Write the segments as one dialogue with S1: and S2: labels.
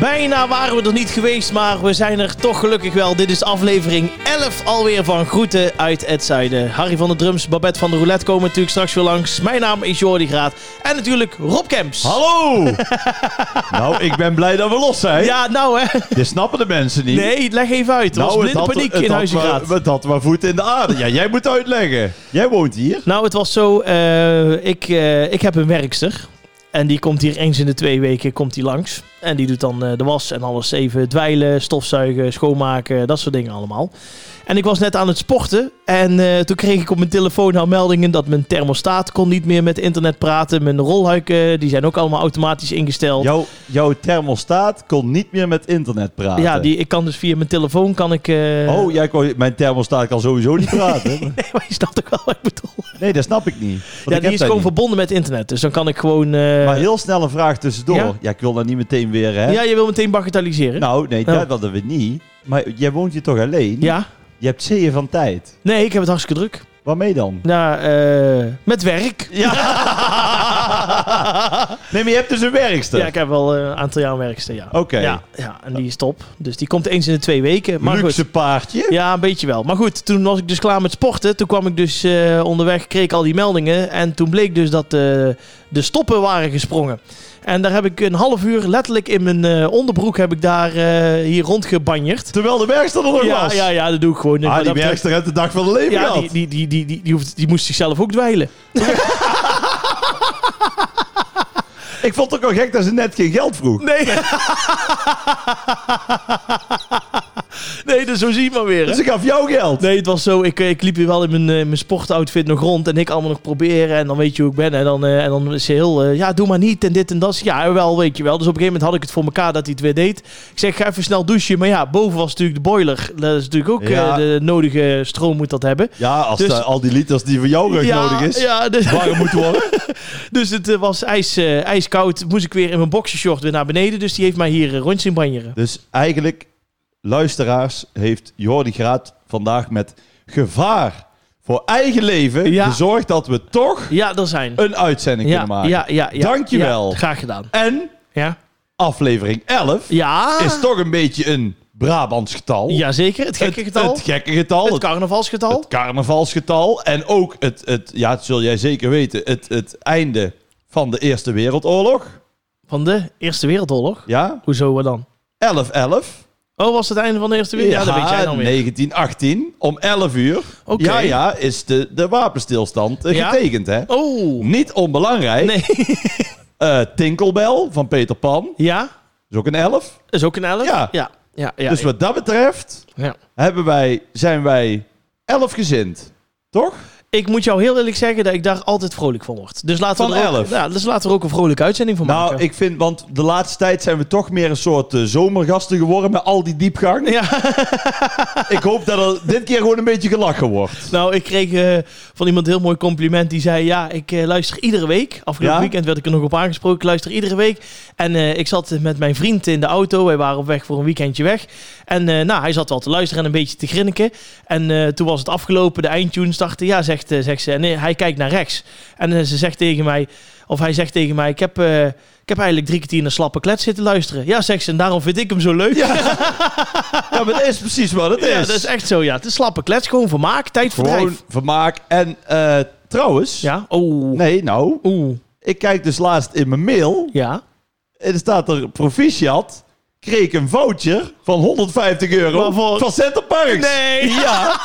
S1: Bijna waren we er niet geweest, maar we zijn er toch gelukkig wel. Dit is aflevering 11 alweer van Groeten uit het Zuiden. Harry van de Drums, Babette van de Roulette komen natuurlijk straks weer langs. Mijn naam is Jordi Graat en natuurlijk Rob Kemps.
S2: Hallo! nou, ik ben blij dat we los zijn.
S1: Ja, nou hè.
S2: Dit snappen de mensen niet.
S1: Nee, leg even uit. Er
S2: nou,
S1: was
S2: het
S1: blinde
S2: had-
S1: paniek
S2: het
S1: in
S2: had
S1: Huizen
S2: maar-
S1: Graat.
S2: Het had maar voet in de aarde. Ja, jij moet uitleggen. Jij woont hier.
S1: Nou, het was zo. eh, ik, eh, ik heb een werkster. En die komt hier eens in de twee weken komt die langs. En die doet dan eh, de was en alles even dweilen, stofzuigen, schoonmaken, dat soort dingen allemaal. En ik was net aan het sporten. En eh, toen kreeg ik op mijn telefoon al meldingen dat mijn thermostaat kon niet meer met internet praten. Mijn rolhuiken, die zijn ook allemaal automatisch ingesteld.
S2: Jouw, jouw thermostaat kon niet meer met internet praten.
S1: Ja, die, ik kan dus via mijn telefoon kan ik... eh,
S2: Oh, jij kon, mijn thermostaat kan sowieso niet praten.
S1: Nee, maar je snapt ook wel wat ik bedoel.
S2: nee, dat snap ik niet. Want ik
S1: Ja,
S2: heb
S1: die is
S2: dat
S1: gewoon
S2: niet.
S1: verbonden met internet. Dus dan kan ik gewoon... eh,
S2: Maar heel snel een vraag tussendoor.
S1: Ja?
S2: Ja, ik wil dat niet meteen weer, hè?
S1: ja, je wil meteen bagatelliseren.
S2: Nou, nee,
S1: Oh.
S2: dat wilden we niet. Maar jij woont hier toch alleen?
S1: ja.
S2: Je hebt zeeën van tijd.
S1: Nee, ik heb het hartstikke druk.
S2: Waarmee dan?
S1: Nou, eh, met werk.
S2: Ja. nee, maar je hebt dus een werkster.
S1: Ja, ik heb wel eh, een aantal jaar werkster, ja.
S2: Oké.
S1: Ja, ja, en die is top. Dus die komt eens in de twee weken. Maar
S2: Luxe
S1: goed.
S2: paardje.
S1: Ja, een beetje wel. Maar goed, toen was ik dus klaar met sporten. Toen kwam ik dus eh, onderweg, kreeg ik al die meldingen. En toen bleek dus dat eh, de stoppen waren gesprongen. En daar heb ik een half uur letterlijk in mijn eh, onderbroek heb ik daar eh, hier rondgebanjerd.
S2: Terwijl de werkster er nog
S1: Ja,
S2: was.
S1: ja, ja, dat doe ik gewoon.
S2: Oh, Ah,
S1: Wat
S2: die
S1: dat betreft-
S2: werkster heeft de dag van het leven
S1: Ja,
S2: gehad.
S1: die, die, die, die, die, die, hoeft, die moest zichzelf ook dweilen.
S2: Ik vond het ook wel gek dat ze net geen geld vroeg.
S1: Nee. nee, dus zo zie je maar weer. hè.
S2: Ze gaf jou geld.
S1: Nee, het was zo. Ik, eh, ik liep hier wel in mijn, eh, mijn sportoutfit nog rond. En ik allemaal nog proberen. En dan weet je hoe ik ben. En dan, eh, en dan is ze heel. eh, ja, doe maar niet. En dit en dat. Ja, wel, weet je wel. Dus op een gegeven moment had ik het voor elkaar dat hij het weer deed. Ik zeg, ga even snel douchen. Maar ja, boven was natuurlijk de boiler. Dat is natuurlijk ook. eh,
S2: Ja.
S1: de nodige stroom moet dat hebben.
S2: Ja, als
S1: Dus-
S2: de- al die liters die voor jou rug
S1: ja,
S2: nodig is.
S1: Ja, dus,
S2: Warm moet worden.
S1: dus het eh, was ijs, eh, ijskoud. Moest ik weer in mijn boxershort weer naar beneden. Dus die heeft mij hier rond rond zien banjeren.
S2: Dus eigenlijk, luisteraars, heeft Jordi Graat vandaag met gevaar voor eigen leven
S1: Ja.
S2: gezorgd dat we toch
S1: Ja, er zijn.
S2: een uitzending
S1: ja,
S2: kunnen maken.
S1: Ja, ja, ja.
S2: Dankjewel.
S1: Ja, graag gedaan.
S2: En
S1: Ja.
S2: aflevering 11
S1: Ja.
S2: is toch een beetje een Brabants getal.
S1: Jazeker, het gekke getal.
S2: Het
S1: Het,
S2: gekke getal. Het
S1: carnavalsgetal.
S2: het carnavalsgetal. En ook het, het ja, dat zul jij zeker weten, het, het einde van de Eerste Wereldoorlog.
S1: van de Eerste Wereldoorlog.
S2: Ja,
S1: Hoezo we dan?
S2: 11-11.
S1: Oh, was het einde van de Eerste Wereldoorlog? Ja, dat weet jij dan weer.
S2: 1918, om 11 uur.
S1: Oké.
S2: Ja, ja, is de, de wapenstilstand eh,
S1: Ja?
S2: getekend, hè?
S1: Oh.
S2: Niet onbelangrijk.
S1: Nee.
S2: Eh, Tinkelbel van Peter Pan,
S1: Ja,
S2: is ook een 11.
S1: is ook een 11.
S2: Ja.
S1: Ja. ja, ja,
S2: dus wat dat betreft
S1: ja.
S2: hebben wij, zijn wij 11 gezind, toch?
S1: Ik moet jou heel eerlijk zeggen dat ik daar altijd vrolijk van word. Dus laten we
S2: Van
S1: er ook,
S2: 11.
S1: ja, dus laten we er ook een vrolijke uitzending van
S2: Nou,
S1: maken.
S2: ik vind, want de laatste tijd zijn we toch meer een soort eh, zomergasten geworden met al die diepgang.
S1: Ja,
S2: Ik hoop dat er dit keer gewoon een beetje gelachen wordt.
S1: nou, ik kreeg eh, van iemand een heel mooi compliment. Die zei, ja, ik eh, luister iedere week. Afgelopen
S2: Ja?
S1: weekend werd ik er nog op aangesproken. Ik luister iedere week. En eh, ik zat met mijn vriend in de auto. Wij waren op weg voor een weekendje weg. En eh, nou, hij zat wel te luisteren en een beetje te grinniken. En eh, toen was het afgelopen. De eindtune startte. Ja, zegt, eh, zegt ze. En eh, hij kijkt naar rechts. En eh, ze zegt tegen mij... Of hij zegt tegen mij... Ik heb, eh, ik heb eigenlijk drie kwartier naar slappe klets zitten luisteren. Ja, zegt ze. En daarom vind ik hem zo leuk. Ja,
S2: Ja, maar dat is precies wat het is.
S1: dat is echt zo. Ja, het is slappe klets. Gewoon vermaak.
S2: gewoon
S1: Tijdverdrijf.
S2: vermaak. En eh, trouwens,
S1: Ja. Oh.
S2: nee, nou,
S1: Oeh.
S2: ik kijk dus laatst in mijn mail.
S1: Ja.
S2: En er staat er proficiat. Kreeg ik een voucher van 150 euro
S1: Waarvoor?
S2: van Center Parks.
S1: Nee.
S2: Ja.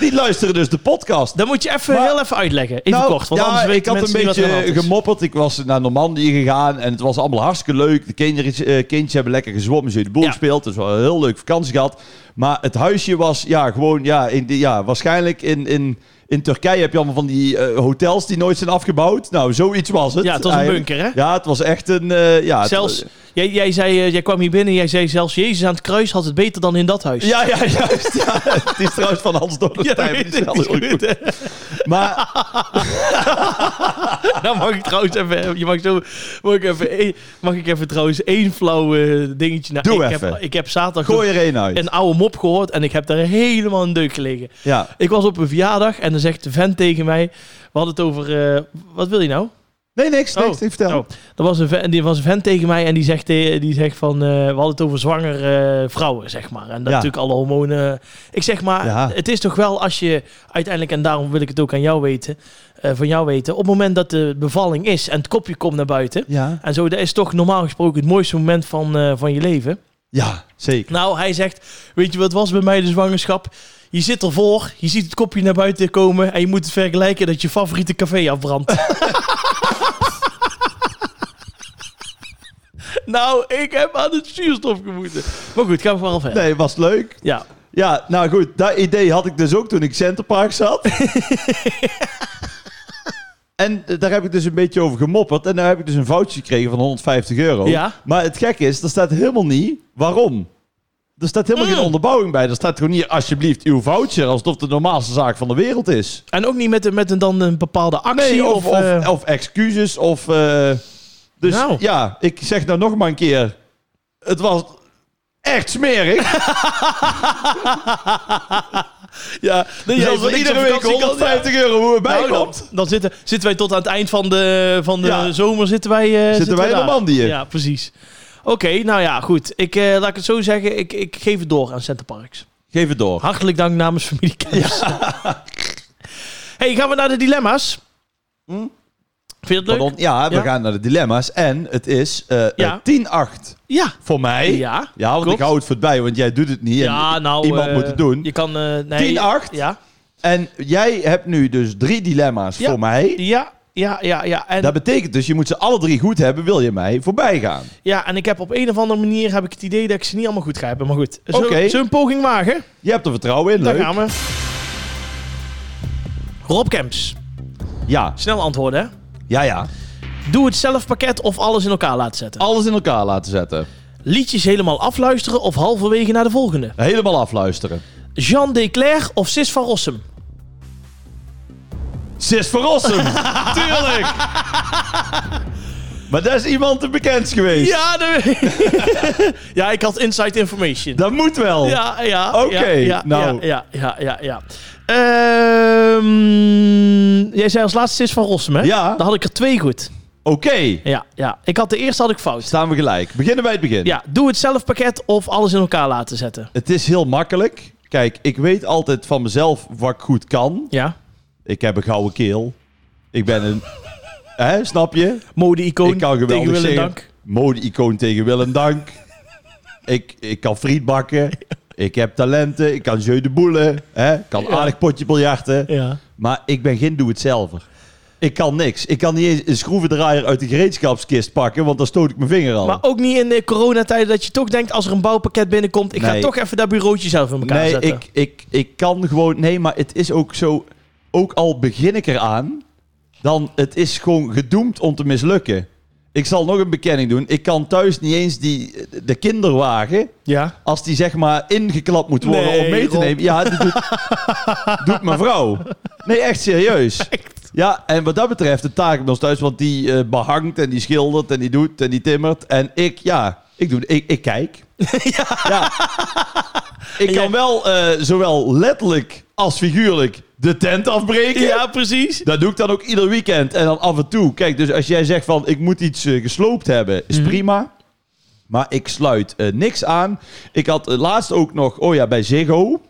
S2: Die luisteren dus de podcast.
S1: Dat moet je even
S2: Maar-
S1: heel even uitleggen. Even
S2: Nou,
S1: kort. Want
S2: ja,
S1: anders weten
S2: ik had een
S1: mensen niet wat er aan de
S2: beetje
S1: hand is.
S2: gemopperd. Ik was naar Normandië gegaan en het was allemaal hartstikke leuk. De kinderen, eh, kindjes hebben lekker gezwommen, ze de boel
S1: Ja.
S2: gespeeld. Dus we hadden een heel leuk vakantie gehad. Maar het huisje was ja, gewoon, ja, in, de- ja waarschijnlijk in, in, in Turkije heb je allemaal van die eh, hotels die nooit zijn afgebouwd. Nou, zoiets was het.
S1: Ja, het was een
S2: eigenlijk.
S1: bunker, hè?
S2: Ja, het was echt een. eh, ja, het-
S1: Zelfs, jij, jij, zei, eh, jij kwam hier binnen en jij zei zelfs... Jezus aan het kruis had het beter dan in dat huis.
S2: Ja, ja, juist. Ja. Het is trouwens van Hans
S1: Ja, dat
S2: Dorrestein.
S1: weet
S2: Die is
S1: ik.
S2: altijd goed. Maar
S1: Dan Nou, mag ik trouwens even... Je mag, zo, mag, ik even mag ik even trouwens één flauw eh, dingetje... Nou,
S2: Doe
S1: ik Heb,
S2: even.
S1: ik heb zaterdag
S2: gooi er één uit.
S1: een oude mop gehoord en ik heb daar helemaal een deuk gelegen.
S2: Ja.
S1: Ik was op een verjaardag en dan zegt de vent tegen mij... We hadden het over... eh, wat wil je nou?
S2: Nee, niks, niks.
S1: Oh.
S2: Ik vertel.
S1: Oh. Er was een, vent, die was een vent tegen mij en die zegt, eh, die zegt van... eh, we hadden het over zwangere eh, vrouwen, zeg maar. En dat
S2: Ja.
S1: natuurlijk alle hormonen... Ik zeg maar,
S2: Ja.
S1: het is toch wel als je uiteindelijk... En daarom wil ik het ook aan jou weten, eh, van jou weten. Op het moment dat de bevalling is en het kopje komt naar buiten...
S2: Ja.
S1: En zo, dat is toch normaal gesproken het mooiste moment van, eh, van je leven.
S2: ja, zeker.
S1: Nou, hij zegt, weet je wat was bij mij de zwangerschap? Je zit ervoor, je ziet het kopje naar buiten komen en je moet het vergelijken dat je favoriete café afbrandt. nou, ik heb aan het zuurstof gemoeten. Maar goed, gaan we vooral verder.
S2: Nee, was leuk.
S1: Ja.
S2: Ja, nou goed, dat idee had ik dus ook toen ik Centerpark zat. en eh, daar heb ik dus een beetje over gemopperd. En daar heb ik dus een foutje gekregen van 150 euro.
S1: Ja.
S2: Maar het gekke is, er staat helemaal niet waarom. Er staat helemaal
S1: Mm.
S2: geen onderbouwing bij. Er staat gewoon hier, alsjeblieft, uw voucher. Alsof het de normaalste zaak van de wereld is.
S1: En ook niet met, een- met een, dan een bepaalde actie.
S2: Nee, of,
S1: of,
S2: of,
S1: eh,
S2: of excuses. Of, eh, dus
S1: Nou.
S2: ja, ik zeg nou nog maar een keer. Het was echt smerig.
S1: ja, dat
S2: Dus
S1: jij
S2: als
S1: voor
S2: er
S1: niks
S2: iedere
S1: op
S2: week
S1: vakantie kan,
S2: 150 euro
S1: ja.
S2: bij
S1: Nou, dan,
S2: komt.
S1: dan zitten, zitten wij tot aan het eind van de, van de
S2: Ja.
S1: zomer zitten wij, eh,
S2: Zitten wij in
S1: daar.
S2: Normandië.
S1: Ja, precies. Oké, nou ja, goed. Ik, eh, laat ik het zo zeggen. Ik, ik geef het door aan Center Parks.
S2: Geef het door.
S1: Hartelijk dank namens familie Kemps. hey, gaan we naar de dilemma's?
S2: Hm?
S1: Vind je het leuk?
S2: Pardon? Ja, we
S1: Ja.
S2: gaan naar de dilemma's. En het is eh, eh,
S1: Ja.
S2: 10-8
S1: Ja.
S2: voor mij. Ja,
S1: Ja.
S2: want
S1: klopt.
S2: ik hou het voorbij, want jij doet het niet.
S1: Ja,
S2: en
S1: nou...
S2: iemand
S1: eh,
S2: moet het doen.
S1: Je kan... eh, nee.
S2: 10-8.
S1: Ja.
S2: En jij hebt nu dus drie dilemma's
S1: Ja.
S2: voor mij.
S1: Ja, ja, ja, ja. En,
S2: Dat betekent dus, je moet ze alle drie goed hebben, wil je mij voorbij gaan.
S1: ja. en ik heb op een of andere manier heb ik het idee dat ik ze niet allemaal goed ga hebben. Maar goed. Zullen,
S2: Oké.
S1: zullen we een poging wagen?
S2: Je hebt er vertrouwen in,
S1: Daar
S2: leuk.
S1: gaan we. Rob Kemps.
S2: Ja,
S1: Snel antwoorden, hè?
S2: ja, ja.
S1: Doe het zelf pakket of alles in elkaar laten zetten.
S2: Alles in elkaar laten zetten.
S1: Liedjes helemaal afluisteren of halverwege naar de volgende.
S2: Helemaal afluisteren.
S1: Jean Declerc of Sis van Rossum?
S2: Sis Verrossum, tuurlijk. Maar dat is iemand te bekend geweest.
S1: Ja, de- ja, ik had inside information.
S2: Dat moet wel.
S1: ja, ja.
S2: Oké,
S1: ja, ja,
S2: nou.
S1: Ja, ja, ja, ja. ja. Ehm, jij zei als laatste Sis van Rossum, hè?
S2: Ja.
S1: Dan had ik er twee goed.
S2: Oké,
S1: Ja, ja. Ik had de eerste had ik fout.
S2: staan we gelijk. Beginnen bij het begin.
S1: Ja, doe het zelf pakket of alles in elkaar laten zetten.
S2: Het is heel makkelijk. Kijk, ik weet altijd van mezelf wat ik goed kan.
S1: Ja.
S2: Ik heb een gouden keel. Ik ben een... hè, snap je?
S1: Mode-icoon.
S2: Ik kan geweldig
S1: tegen Willem
S2: zingen.
S1: Dank.
S2: Mode-icoon tegen Willem Dank. ik, ik kan friet bakken. Ik heb talenten. Ik kan jeu de boelen. Hè? Ik kan aardig potje biljarten.
S1: Ja.
S2: Maar ik ben geen doe-het-zelver. Ik kan niks. Ik kan niet eens een schroevendraaier uit de gereedschapskist pakken, want dan stoot ik mijn vinger al.
S1: Maar ook niet in de coronatijden dat je toch denkt als er een bouwpakket binnenkomt, ik ga
S2: Nee.
S1: toch even dat bureautje zelf in elkaar
S2: nee,
S1: zetten.
S2: ik, ik, ik kan gewoon... Nee, maar het is ook zo... Ook al begin ik eraan, dan het is gewoon gedoemd om te mislukken. Ik zal nog een bekenning doen. Ik kan thuis niet eens die, de kinderwagen,
S1: Ja.
S2: als die zeg maar ingeklapt moet worden
S1: Nee,
S2: om mee te
S1: Rob.
S2: nemen. Ja, dat doet, doet mijn vrouw. Nee, echt serieus. Ja, en wat dat betreft, de taak bij ons thuis, want die eh, behangt en die schildert en die doet en die timmert. En ik, ja, ik, doe, ik, ik kijk. ja. Ik
S1: En jij-
S2: kan wel eh, zowel letterlijk als figuurlijk de tent afbreken.
S1: Ja, precies.
S2: Dat doe ik dan ook ieder weekend en dan af en toe. Kijk, dus als jij zegt van ik moet iets eh, gesloopt hebben, is prima. Maar ik sluit eh, niks aan. Ik had eh, laatst ook nog, oh ja, bij Ziggo.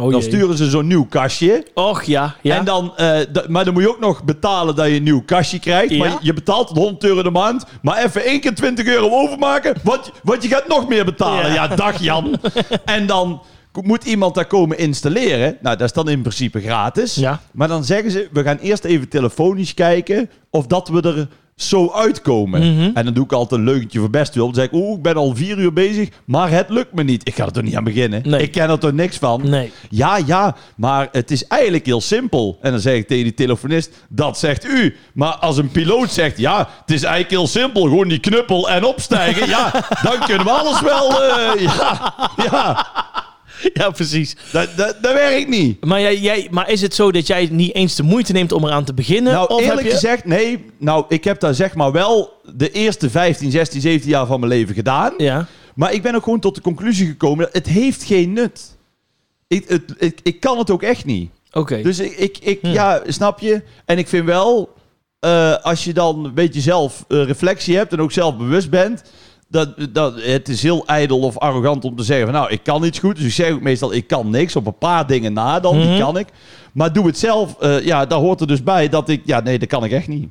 S1: Oh,
S2: Dan
S1: jee.
S2: sturen ze zo'n nieuw kastje.
S1: Och ja, ja.
S2: En dan, eh, d- maar dan moet je ook nog betalen dat je een nieuw kastje krijgt.
S1: Ja.
S2: Maar je- je betaalt 100 euro de maand. Maar even één keer 20 euro overmaken. Want, want je gaat nog meer betalen.
S1: Ja.
S2: Ja, dag Jan. en dan ko- moet iemand daar komen installeren. Nou, dat is dan in principe gratis.
S1: Ja.
S2: Maar dan zeggen ze, we gaan eerst even telefonisch kijken of dat we er zo uitkomen.
S1: Mhm.
S2: En dan doe ik altijd een leugentje voor best wil. Dan zeg ik, oeh, ik ben al vier uur bezig, maar het lukt me niet. Ik ga er toch niet aan beginnen?
S1: Nee.
S2: Ik ken er toch niks van?
S1: Nee.
S2: Ja, ja, maar het is eigenlijk heel simpel. En dan zeg ik tegen die telefonist, dat zegt u. Maar als een piloot zegt, ja, het is eigenlijk heel simpel. Gewoon die knuppel en opstijgen. Ja, dan kunnen we alles wel. eh, ja, ja.
S1: Ja, precies.
S2: Dat, dat, dat werkt niet.
S1: Maar, jij, jij, maar is het zo dat jij niet eens de moeite neemt om eraan te beginnen?
S2: Nou,
S1: of
S2: eerlijk
S1: heb je...
S2: gezegd, nee. Nou, ik heb daar zeg maar wel de eerste 15, 16, 17 jaar van mijn leven gedaan.
S1: Ja.
S2: Maar ik ben ook gewoon tot de conclusie gekomen, dat het heeft geen nut. Ik, het, Dus ik, ik kan het ook echt niet.
S1: Oké. Hm.
S2: Dus ik, ik, ik ja, snap je? En ik vind wel, eh, als je dan een beetje zelf eh, reflectie hebt en ook zelf bewust bent. Dat, dat, het is heel ijdel of arrogant om te zeggen van nou, ik kan iets goed. Dus ik zeg ook meestal, ik kan niks. Op een paar dingen na dan,
S1: Mhm.
S2: die kan ik. Maar doe het zelf. eh, ja, daar hoort er dus bij dat ik, ja nee, dat kan ik echt niet.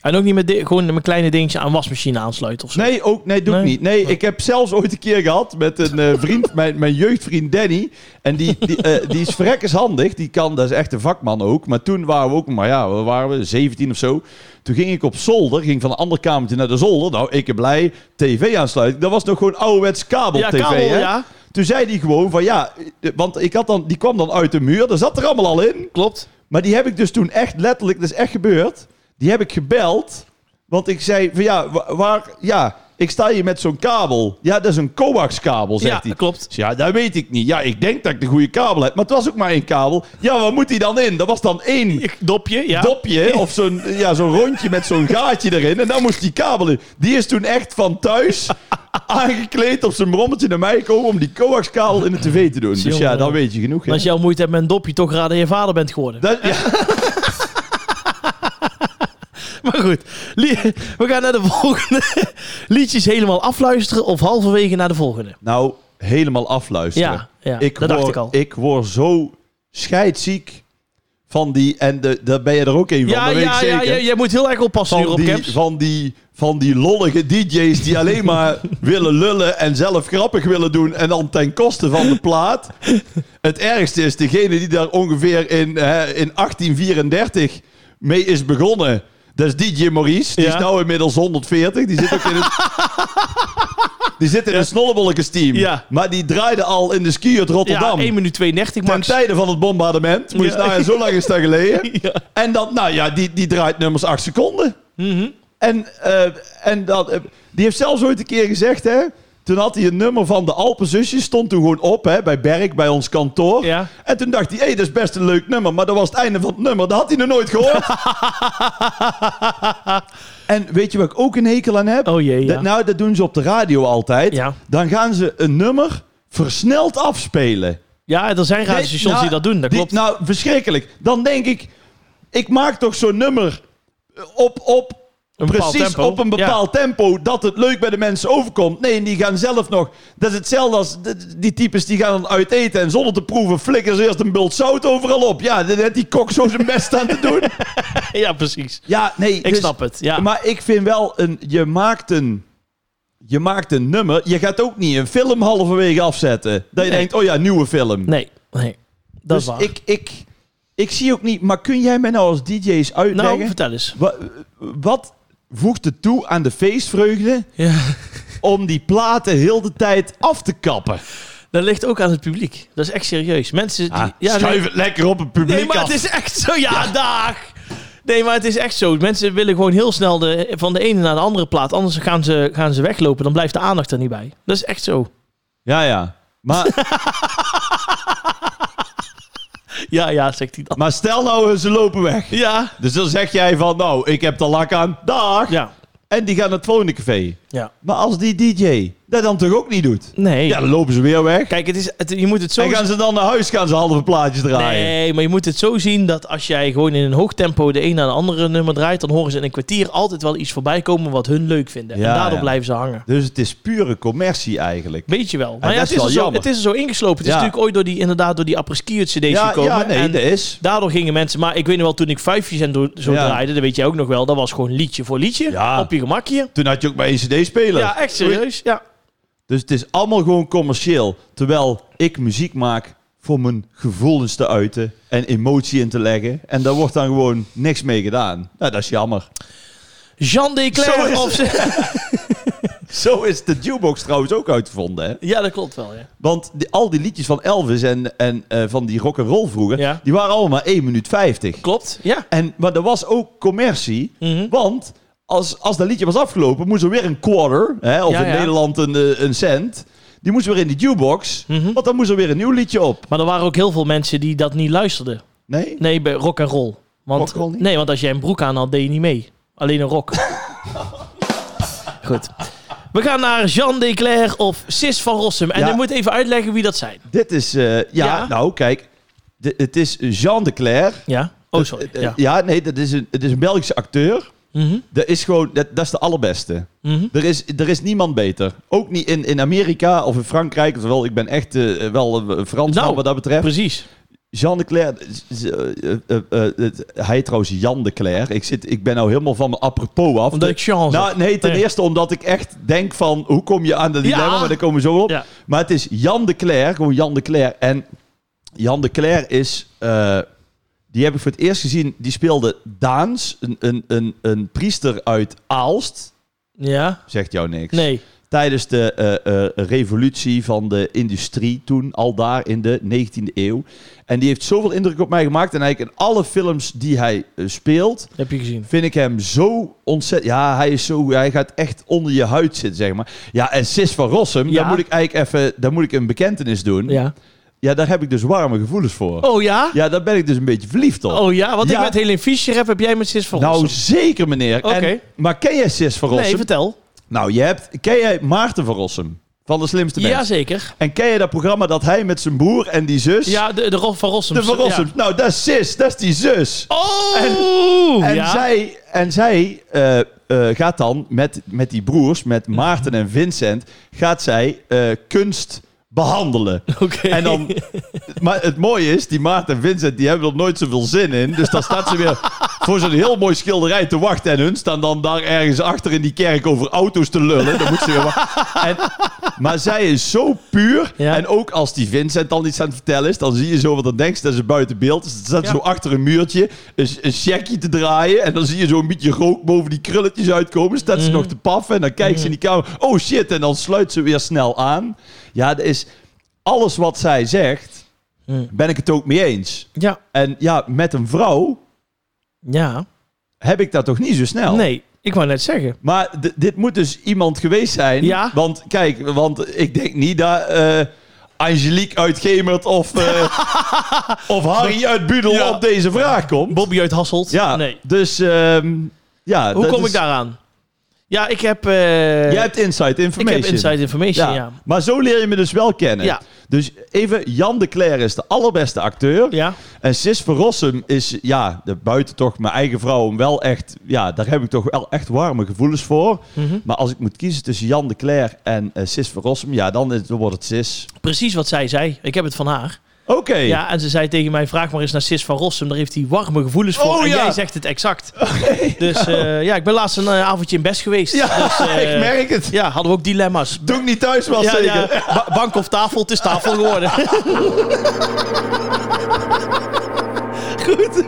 S1: En ook niet met di- gewoon mijn kleine dingetje aan wasmachine aansluiten of zo.
S2: Nee, ook, nee, doe ik
S1: Nee. Oh.
S2: niet. Nee, ik heb zelfs ooit een keer gehad met een eh, vriend, mijn, mijn jeugdvriend Danny. En die, die, eh, die is verrekkers handig. Die kan, dat is echt een vakman ook. Maar toen waren we ook, maar ja, we waren we 17 of zo. Toen ging ik op zolder, ging van een ander kamertje naar de zolder. Nou, ik heb blij, tv aansluiting. Dat was nog gewoon ouderwets kabel-tv,
S1: ja, kabel,
S2: hè?
S1: ja.
S2: Toen zei hij gewoon van ja, eh, want ik had dan, die kwam dan uit de muur. Daar zat er allemaal al in.
S1: Klopt.
S2: Maar die heb ik dus toen echt letterlijk, dat is echt gebeurd. Die heb ik gebeld. Want ik zei van ja, wa- waar, ja, ik sta hier met zo'n kabel. Ja, dat is een coaxkabel, zegt
S1: Ja,
S2: hij.
S1: klopt.
S2: Ik zei, Ja, dat weet ik niet. Ja, ik denk dat ik de goede kabel heb. Maar het was ook maar één kabel. Ja, wat moet hij dan in? Dat was dan één
S1: Ik- Dopje, ja.
S2: dopje of zo'n ja, zo'n rondje met zo'n gaatje erin. En dan moest die kabel in. Die is toen echt van thuis aangekleed op zijn brommetje naar mij komen om die coaxkabel in de tv te doen. Dus ja,
S1: Jongen.
S2: dan weet je genoeg. hè.
S1: En Als jij moeite hebt met een dopje, toch raden dat je vader bent geworden.
S2: Dat, ja.
S1: Maar goed, li- we gaan naar de volgende. Liedjes helemaal afluisteren of halverwege naar de volgende.
S2: Nou, helemaal afluisteren.
S1: Ja, ja,
S2: ik
S1: dat
S2: word,
S1: dacht ik al.
S2: word zo scheidziek van die... En de, daar ben je er ook een van,
S1: Ja,
S2: dat weet
S1: ja,
S2: ik
S1: ja,
S2: zeker.
S1: ja, jij moet heel erg oppassen nu
S2: Van
S1: op
S2: die,
S1: caps.
S2: van, die, van die lollige DJ's die alleen maar willen lullen en zelf grappig willen doen en dan ten koste van de plaat. Het ergste is degene die daar ongeveer in, hè, in 1834 mee is begonnen. Dat is DJ Maurice. Die
S1: Ja.
S2: is nou inmiddels 140. Die zit ook in het. Die zit in een snollebollekesteam.
S1: Ja.
S2: Maar die draaide al in de skiert
S1: Ja,
S2: Rotterdam.
S1: 1 minuut 32
S2: Ten
S1: max.
S2: tijde van het bombardement. Moet je
S1: Ja.
S2: nou ja, zo lang is dat geleden.
S1: Ja.
S2: En dan, nou ja, die, die draait nummers 8 seconden.
S1: Mhm.
S2: En, eh, en dat, eh, die heeft zelfs ooit een keer gezegd, hè. Toen had hij een nummer van de Alpenzusjes, stond toen gewoon op hè, bij Berk, bij ons kantoor.
S1: Ja.
S2: En toen dacht hij, hé, dat is best een leuk nummer. Maar dat was het einde van het nummer, dat had hij nog nooit gehoord. en weet je wat ik ook een hekel aan heb?
S1: Oh jee, ja.
S2: Dat- nou, dat doen ze op de radio altijd.
S1: Ja.
S2: Dan gaan ze een nummer versneld afspelen.
S1: Ja, er zijn radiostations
S2: Nee, nou,
S1: die dat doen, dat
S2: die-
S1: klopt.
S2: Nou, verschrikkelijk. Dan denk ik, ik maak toch zo'n nummer op, op
S1: Een bepaald
S2: precies
S1: tempo.
S2: op een bepaald tempo dat het leuk bij de mensen overkomt. Nee, en die gaan zelf nog. Dat is hetzelfde als d- die types die gaan dan uit eten en zonder te proeven flikkeren ze eerst een bult zout overal op. Ja, dat heeft die kok zo zijn best aan te doen.
S1: Ja, precies.
S2: Ja, nee. dus
S1: Ik snap het, ja.
S2: Maar ik vind wel een. Je maakt een. Je maakt een nummer. Je gaat ook niet een film halverwege afzetten. Dat je
S1: Nee.
S2: denkt, oh ja, nieuwe film.
S1: Nee, nee. Dat is waar.
S2: Dus ik, ik, ik zie ook niet, maar kun jij mij nou als DJ eens
S1: nou,
S2: uitleggen?
S1: vertel eens.
S2: wa- wat, voegt het toe aan de feestvreugde
S1: Ja.
S2: om die platen heel de tijd af te kappen?
S1: Dat ligt ook aan het publiek. Dat is echt serieus. Mensen die...
S2: Ah,
S1: ja,
S2: schuif
S1: nee,
S2: het lekker op het publiek
S1: nee, maar
S2: af.
S1: het is echt zo. Ja, dag! Nee, maar het is echt zo. Mensen willen gewoon heel snel de, van de ene naar de andere plaat. Anders gaan ze, gaan ze weglopen. Dan blijft de aandacht er niet bij. Dat is echt zo.
S2: Ja, ja. Maar,
S1: Ja, ja, zegt hij dan.
S2: maar stel nou, ze lopen weg.
S1: Ja.
S2: Dus dan zeg jij van, nou, ik heb de lak aan, dag.
S1: Ja.
S2: En die gaan naar het volgende café.
S1: Ja.
S2: Maar als die DJ dat dan toch ook niet doet?
S1: Nee.
S2: Ja, dan lopen ze weer weg.
S1: Kijk, het is, het, je moet het zo
S2: En gaan ze dan naar huis, gaan ze halve plaatjes draaien.
S1: Nee, maar je moet het zo zien dat als jij gewoon in een hoog tempo de een naar de andere nummer draait, dan horen ze in een kwartier altijd wel iets voorbij komen wat hun leuk vinden.
S2: Ja,
S1: en daardoor
S2: ja.
S1: blijven ze hangen.
S2: Dus het is pure commercie eigenlijk.
S1: Weet je wel. Maar
S2: dat
S1: ja, het,
S2: is
S1: is
S2: wel
S1: er zo,
S2: jammer.
S1: het is er zo ingeslopen. Het
S2: Ja.
S1: is natuurlijk ooit door die, inderdaad door die apres-ski cd's gekomen.
S2: ja, nee,
S1: en
S2: dat is.
S1: daardoor gingen mensen... Maar ik weet nog wel, toen ik vijfjes en do- zo
S2: Ja.
S1: draaide, dat weet jij ook nog wel, dat was gewoon liedje voor liedje.
S2: Ja.
S1: Op je gemakje.
S2: Toen had je ook bij een CD-speler.
S1: Ja, echt serieus. Ja.
S2: Dus het is allemaal gewoon commercieel. Terwijl ik muziek maak voor mijn gevoelens te uiten en emotie in te leggen. En daar wordt dan gewoon niks mee gedaan. Nou, dat is jammer.
S1: Jean de
S2: Zo
S1: Cler
S2: is
S1: of ze-
S2: Zo is de jukebox trouwens ook uitgevonden. Hè?
S1: Ja, dat klopt wel, ja.
S2: Want die- al die liedjes van Elvis en, en eh, van die rock roll vroeger,
S1: Ja.
S2: die waren allemaal maar 1 minuut 50.
S1: Klopt, ja.
S2: En, maar er was ook commercie.
S1: Mhm.
S2: Want als, als dat liedje was afgelopen, moest er weer een quarter, hè, of
S1: Ja,
S2: in
S1: ja.
S2: Nederland een, eh, een cent. Die moest weer in die jukebox,
S1: Mhm.
S2: want dan moest er weer een nieuw liedje op.
S1: Maar er waren ook heel veel mensen die dat niet luisterden.
S2: Nee?
S1: Nee, bij rock en roll. Want,
S2: Rock en roll niet?
S1: Nee, want als jij een broek aan had, deed je niet mee. Alleen een rock. Goed. We gaan naar Jean Declerc of Sis van Rossum. En
S2: Ja.
S1: ik moet even uitleggen wie dat zijn.
S2: Dit is, eh, ja,
S1: Ja.
S2: nou kijk, de- het is Jean de Cler
S1: Ja? Oh, sorry.
S2: Eh,
S1: Ja.
S2: Ja, nee, dat is een, het is een Belgische acteur.
S1: Mhm.
S2: Dat is gewoon, dat, dat is de allerbeste.
S1: Mhm.
S2: Er is, er is niemand beter. Ook niet in, in Amerika of in Frankrijk. Terwijl ik ben echt eh, wel eh, Frans
S1: Nou,
S2: wat dat betreft.
S1: Precies.
S2: Jean de Cler, z- z- eh, eh, eh, het- hij heet trouwens Jan de Cler. Ik, zit, ik ben nou helemaal van mijn apropos af.
S1: Omdat ik chance
S2: nou, nee, ten
S1: Nee.
S2: eerste omdat ik echt denk van... Hoe kom je aan de dilemma?
S1: Ja.
S2: Maar daar komen we zo op.
S1: Ja.
S2: Maar het is Jan de Cler, gewoon Jan de Cler. En Jan de Cler is... eh, die heb ik voor het eerst gezien. Die speelde Daans, een, een, een, een priester uit Aalst.
S1: Ja.
S2: Zegt jou niks.
S1: Nee.
S2: Tijdens de eh, eh, revolutie van de industrie toen, al daar in de 19e eeuw. En die heeft zoveel indruk op mij gemaakt. En eigenlijk in alle films die hij eh, speelt,
S1: Heb je gezien.
S2: vind ik hem zo ontzettend... Ja, hij, is zo, hij gaat echt onder je huid zitten, zeg maar. Ja, en Sis van Rossum,
S1: Ja.
S2: daar moet ik eigenlijk even... Daar moet ik een bekentenis doen. Ja,
S1: Ja.
S2: daar heb ik dus warme gevoelens voor.
S1: Oh ja?
S2: Ja, daar ben ik dus een beetje verliefd op.
S1: Oh ja? Wat
S2: Ja.
S1: ik met Helene Fischer heb, heb jij met Sis van
S2: nou,
S1: Rossum?
S2: zeker meneer. En-
S1: Oké.
S2: maar ken jij Sis van Rossum?
S1: Nee, vertel.
S2: Nou, je hebt... Ken jij Maarten van Rossum? Van de slimste mensen.
S1: Jazeker.
S2: En ken je dat programma dat hij met zijn broer en die zus...
S1: Ja, de, de Rob van Rossum.
S2: de Van Rossum.
S1: Ja.
S2: Nou, dat is zus, dat is die zus.
S1: Oh!
S2: En
S1: ja.
S2: zij, en zij eh, eh, gaat dan met, met die broers, met Maarten en Vincent... gaat zij eh, kunst behandelen.
S1: Oké.
S2: En dan, maar het mooie is, die Maarten en Vincent die hebben er nooit zoveel zin in. Dus dan staat ze weer voor zo'n heel mooi schilderij te wachten. En hun staan dan daar ergens achter in die kerk over auto's te lullen. Dan moet ze weer wa- en, maar zij is zo puur.
S1: Ja.
S2: En ook als die Vincent dan iets aan het vertellen is, dan zie je zo wat dan denkt. ze, Dat ze buiten beeld. Dus dan staat ze
S1: Ja.
S2: zo achter een muurtje een, een checkje te draaien. En dan zie je zo'n beetje rook boven die krulletjes uitkomen. Dan Staat ze
S1: Mhm.
S2: nog te paffen. En dan kijkt ze in die kamer. Oh shit. En dan sluit ze weer snel aan. Ja, dat is alles wat zij zegt,
S1: Mm.
S2: ben ik het ook mee eens.
S1: Ja.
S2: En ja, met een vrouw
S1: Ja.
S2: heb ik dat toch niet zo snel.
S1: Nee, ik wou net zeggen.
S2: Maar d- dit moet dus iemand geweest zijn.
S1: Ja.
S2: Want kijk, want ik denk niet dat eh, Angelique uit Gemert of, eh, of Harry uit Budel
S1: Ja.
S2: op deze vraag komt.
S1: Bobby uit Hasselt.
S2: Ja,
S1: Nee.
S2: dus ehm, ja.
S1: Hoe
S2: dat
S1: kom
S2: is-
S1: ik daaraan? Ja, ik heb... eh,
S2: Jij hebt inside
S1: ik
S2: information.
S1: heb inside information, ja.
S2: Maar zo leer je me dus wel kennen.
S1: Ja.
S2: Dus even, Jan de Cler is de allerbeste acteur.
S1: Ja.
S2: En Sis van Rossum is, ja, de buiten toch mijn eigen vrouw, hem wel echt, ja, daar heb ik toch wel echt warme gevoelens voor.
S1: Mhm.
S2: Maar als ik moet kiezen tussen Jan de Cler en eh, Sis van Rossum, ja, dan, is, dan wordt het Sis.
S1: Precies wat zij zei. Ik heb het van haar.
S2: Oké.
S1: Ja, en ze zei tegen mij, vraag maar eens naar Sis van Rossum. Daar heeft hij warme gevoelens voor.
S2: Oh,
S1: en
S2: ja.
S1: jij zegt het exact. Dus eh, ja, ik ben laatst een eh, avondje in Best geweest.
S2: Ja,
S1: dus, eh,
S2: ik merk het.
S1: Ja, hadden we ook dilemma's.
S2: Doe ik niet thuis wel
S1: Ja,
S2: zeker.
S1: ja, ba- bank of tafel, het is tafel geworden. Goed.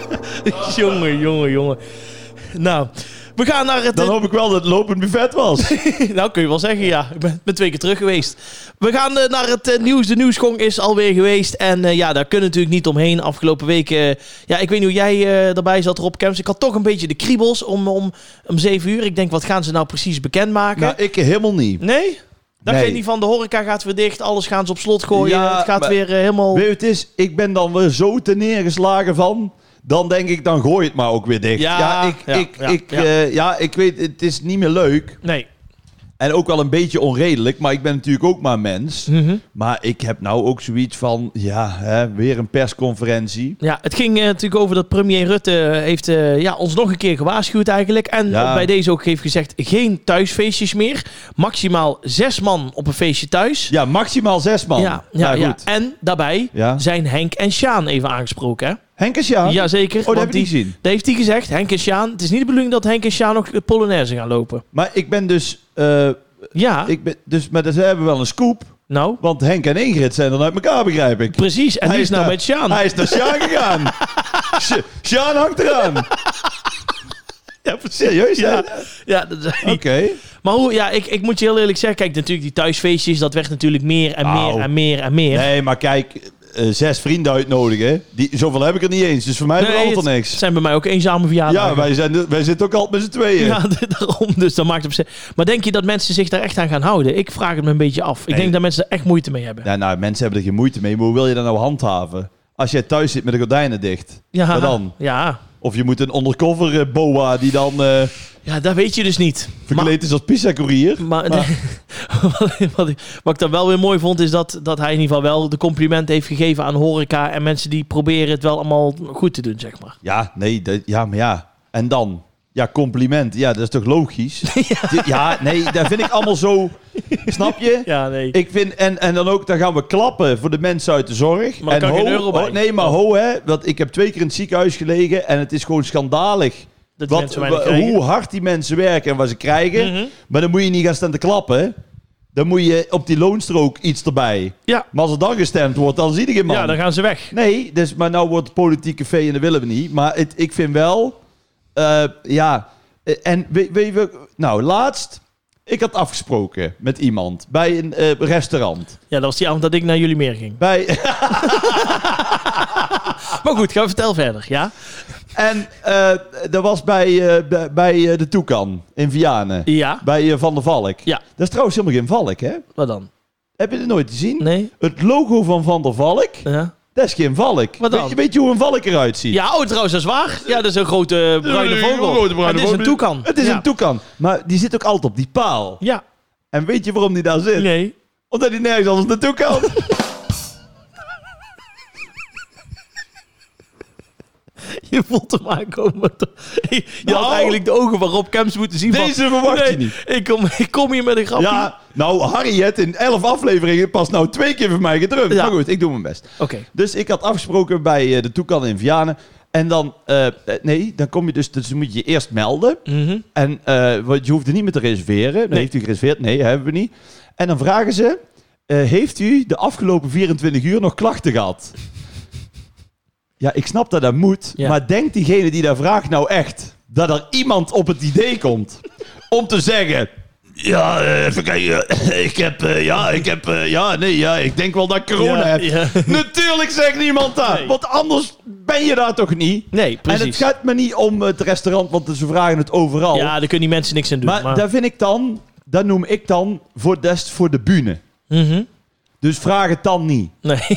S1: jongen, jongen, jongen. Nou, we gaan naar het... eh,
S2: Dan hoop ik wel dat het lopend buffet was.
S1: Nou, kun je wel zeggen, ja. Ik ben, ben twee keer terug geweest. We gaan eh, naar het eh, nieuws. De nieuwsgong is alweer geweest. En eh, ja, daar kunnen we natuurlijk niet omheen. Afgelopen weken... eh, ja, ik weet niet hoe jij eh, erbij zat, Rob Kemps. Ik had toch een beetje de kriebels om, om, om zeven uur. Ik denk, wat gaan ze nou precies bekendmaken?
S2: nou, ik helemaal niet.
S1: Nee? Dat
S2: Nee.
S1: geen niet van de horeca gaat weer dicht, alles gaan ze op slot gooien.
S2: Ja,
S1: het gaat
S2: maar-
S1: weer eh, helemaal.
S2: Weet je, het is, ik ben dan weer zo te neergeslagen van. Dan denk ik, dan gooi het maar ook weer dicht.
S1: Ja,
S2: ik,
S1: ja,
S2: ik,
S1: ja,
S2: ik,
S1: ja.
S2: eh, ja, ik weet, het is niet meer leuk.
S1: Nee.
S2: En ook wel een beetje onredelijk, maar ik ben natuurlijk ook maar mens. Maar ik heb nou ook zoiets van, ja, hè, weer een persconferentie.
S1: Ja, het ging eh, natuurlijk over dat premier Rutte heeft eh, ja, ons nog een keer gewaarschuwd eigenlijk. En
S2: Ja.
S1: bij deze ook heeft gezegd geen thuisfeestjes meer. Maximaal zes man op een feestje thuis.
S2: Ja, maximaal zes man.
S1: ja, ja,
S2: Nou,
S1: ja.
S2: goed.
S1: En daarbij
S2: Ja.
S1: zijn Henk en Sjaan even aangesproken. Hè?
S2: Henk is ja.
S1: Jazeker.
S2: Oh, dat
S1: want
S2: heb ik niet gezien.
S1: Dat heeft hij gezegd, Henk en Sjaan. Het is niet de bedoeling dat Henk en Sjaan nog de Polonaise gaan lopen.
S2: Maar ik ben dus, eh,
S1: Ja,
S2: ik ben, dus maar ze hebben wel een scoop.
S1: nou,
S2: Want Henk en Ingrid zijn dan uit elkaar, begrijp ik.
S1: precies. En
S2: Hij
S1: die
S2: is
S1: is nou
S2: daar-
S1: met Sjaan.
S2: Hij is naar Sjaan gegaan. Sj- Sjaan hangt eraan.
S1: Ja, precies.
S2: Serieus, hè?
S1: Ja,
S2: Oké.
S1: ja dat zei hij. Maar hoe, ja, ik, ik moet je heel eerlijk zeggen. Kijk, natuurlijk, die thuisfeestjes, dat werd natuurlijk meer en
S2: Nou.
S1: meer en meer en meer.
S2: Nee, maar kijk, eh, zes vrienden uitnodigen. Die, zoveel heb ik er niet eens, dus voor mij
S1: Nee,
S2: verandert er
S1: het
S2: niks.
S1: zijn bij mij ook eenzame
S2: Ja,
S1: verjaardagen.
S2: wij, zijn, wij zitten ook altijd met z'n tweeën.
S1: Ja, daarom. Dus dat maakt op zich. Maar denk je dat mensen zich daar echt aan gaan houden? Ik vraag het me een beetje af. Ik
S2: Nee.
S1: denk dat mensen er echt moeite mee hebben.
S2: Ja, nou, mensen hebben er geen moeite mee, maar hoe wil je dat nou handhaven? Als jij thuis zit met de gordijnen dicht,
S1: Ja,
S2: wat dan?
S1: Ja.
S2: Of je moet een undercover eh, boa die dan eh,
S1: Ja, dat weet je dus niet.
S2: verkleed is als pizzacourier.
S1: Maar, maar- wat, wat ik, wat ik dan wel weer mooi vond, is dat, dat hij in ieder geval wel de complimenten heeft gegeven aan horeca en mensen die proberen het wel allemaal goed te doen, zeg maar.
S2: Ja, nee, dat- ja, maar ja. En dan? Ja, compliment. Ja, dat is toch logisch? ja. nee, dat vind ik allemaal zo... Snap je?
S1: Ja, nee.
S2: Ik vind, en, en dan ook, dan gaan we klappen voor de mensen uit de zorg.
S1: Maar
S2: en
S1: dan kan geen euro bij. Oh.
S2: ho, Nee, maar ho, hè. Want ik heb twee keer in het ziekenhuis gelegen en het is gewoon schandalig.
S1: dat die
S2: Wat,
S1: mensen weinig
S2: wa-
S1: krijgen.
S2: hoe hard die mensen werken en wat ze krijgen.
S1: Mhm.
S2: Maar dan moet je niet gaan staan te klappen. hè. Dan moet je op die loonstrook iets erbij.
S1: Ja.
S2: Maar als er dan gestemd wordt, dan zie je geen man.
S1: Ja, dan gaan ze weg.
S2: Nee, dus, maar nou wordt het politieke vee en dat willen we niet. Maar het, ik vind wel... eh, ja, eh, en weet weet je... wel- Nou, laatst... Ik had afgesproken met iemand bij een eh, restaurant.
S1: Ja, dat was die avond dat ik naar jullie meer ging.
S2: Bij, Ah.
S1: Maar goed, ga vertel verder, ja?
S2: en eh, dat was bij, eh, bij- bij eh, de Toekan in Vianen.
S1: Ja,
S2: Bij eh, Van der Valk.
S1: Ja.
S2: Dat is trouwens helemaal geen valk, hè?
S1: wat dan?
S2: Heb je het nooit gezien?
S1: Nee?
S2: Het logo van Van der Valk,
S1: Ja,
S2: dat is geen valk.
S1: Wat dan?
S2: Weet, je, weet je hoe een valk eruit ziet?
S1: ja oh, trouwens, dat is waar. Ja, dat is een grote eh, bruine
S2: Een
S1: vogel.
S2: grote bruine
S1: het is een
S2: vogel.
S1: toekan.
S2: Het is
S1: ja.
S2: een toekan, maar die zit ook altijd op die paal.
S1: Ja,
S2: En weet je waarom die daar zit?
S1: nee.
S2: Omdat hij nergens anders naartoe kan.
S1: Je voelt hem aankomen. Je had
S2: Nou.
S1: eigenlijk de ogen waarop Camps moeten zien. van-
S2: Deze verwacht
S1: Nee,
S2: je niet.
S1: Ik kom, ik kom hier met een grapje.
S2: Ja, nou Harry het in 11 afleveringen pas nou twee keer voor mij gedrumd.
S1: Ja.
S2: Maar goed, ik doe mijn best.
S1: Oké.
S2: Dus ik had afgesproken bij eh, de Toekan in Vianen. En dan, eh, eh, nee, dan kom je dus, dus moet je je eerst melden.
S1: Mhm.
S2: En eh, want je hoeft er niet meer te reserveren. Nee.
S1: Nee.
S2: Heeft u gereserveerd? Nee, hebben we niet. En dan vragen ze, eh, heeft u de afgelopen 24 uur nog klachten gehad? ja, ik snap dat dat moet.
S1: Ja.
S2: Maar denkt diegene die daar vraagt nou echt dat er iemand op het idee komt om te zeggen... Ja, eh, even kijken. Ik heb, eh, ja, ik heb, eh, ja, nee, ja, ik denk wel dat ik corona
S1: Ja,
S2: heb.
S1: ja.
S2: Natuurlijk zegt niemand dat,
S1: Nee.
S2: want anders ben je daar toch niet?
S1: Nee, precies.
S2: En het gaat me niet om het restaurant, want ze vragen het overal.
S1: Ja, daar kunnen die mensen niks aan doen.
S2: maar
S1: Maar,
S2: daar vind ik dan, dat noem ik dan voor des voor de bühne.
S1: Mhm.
S2: Dus vraag het dan niet.
S1: Nee.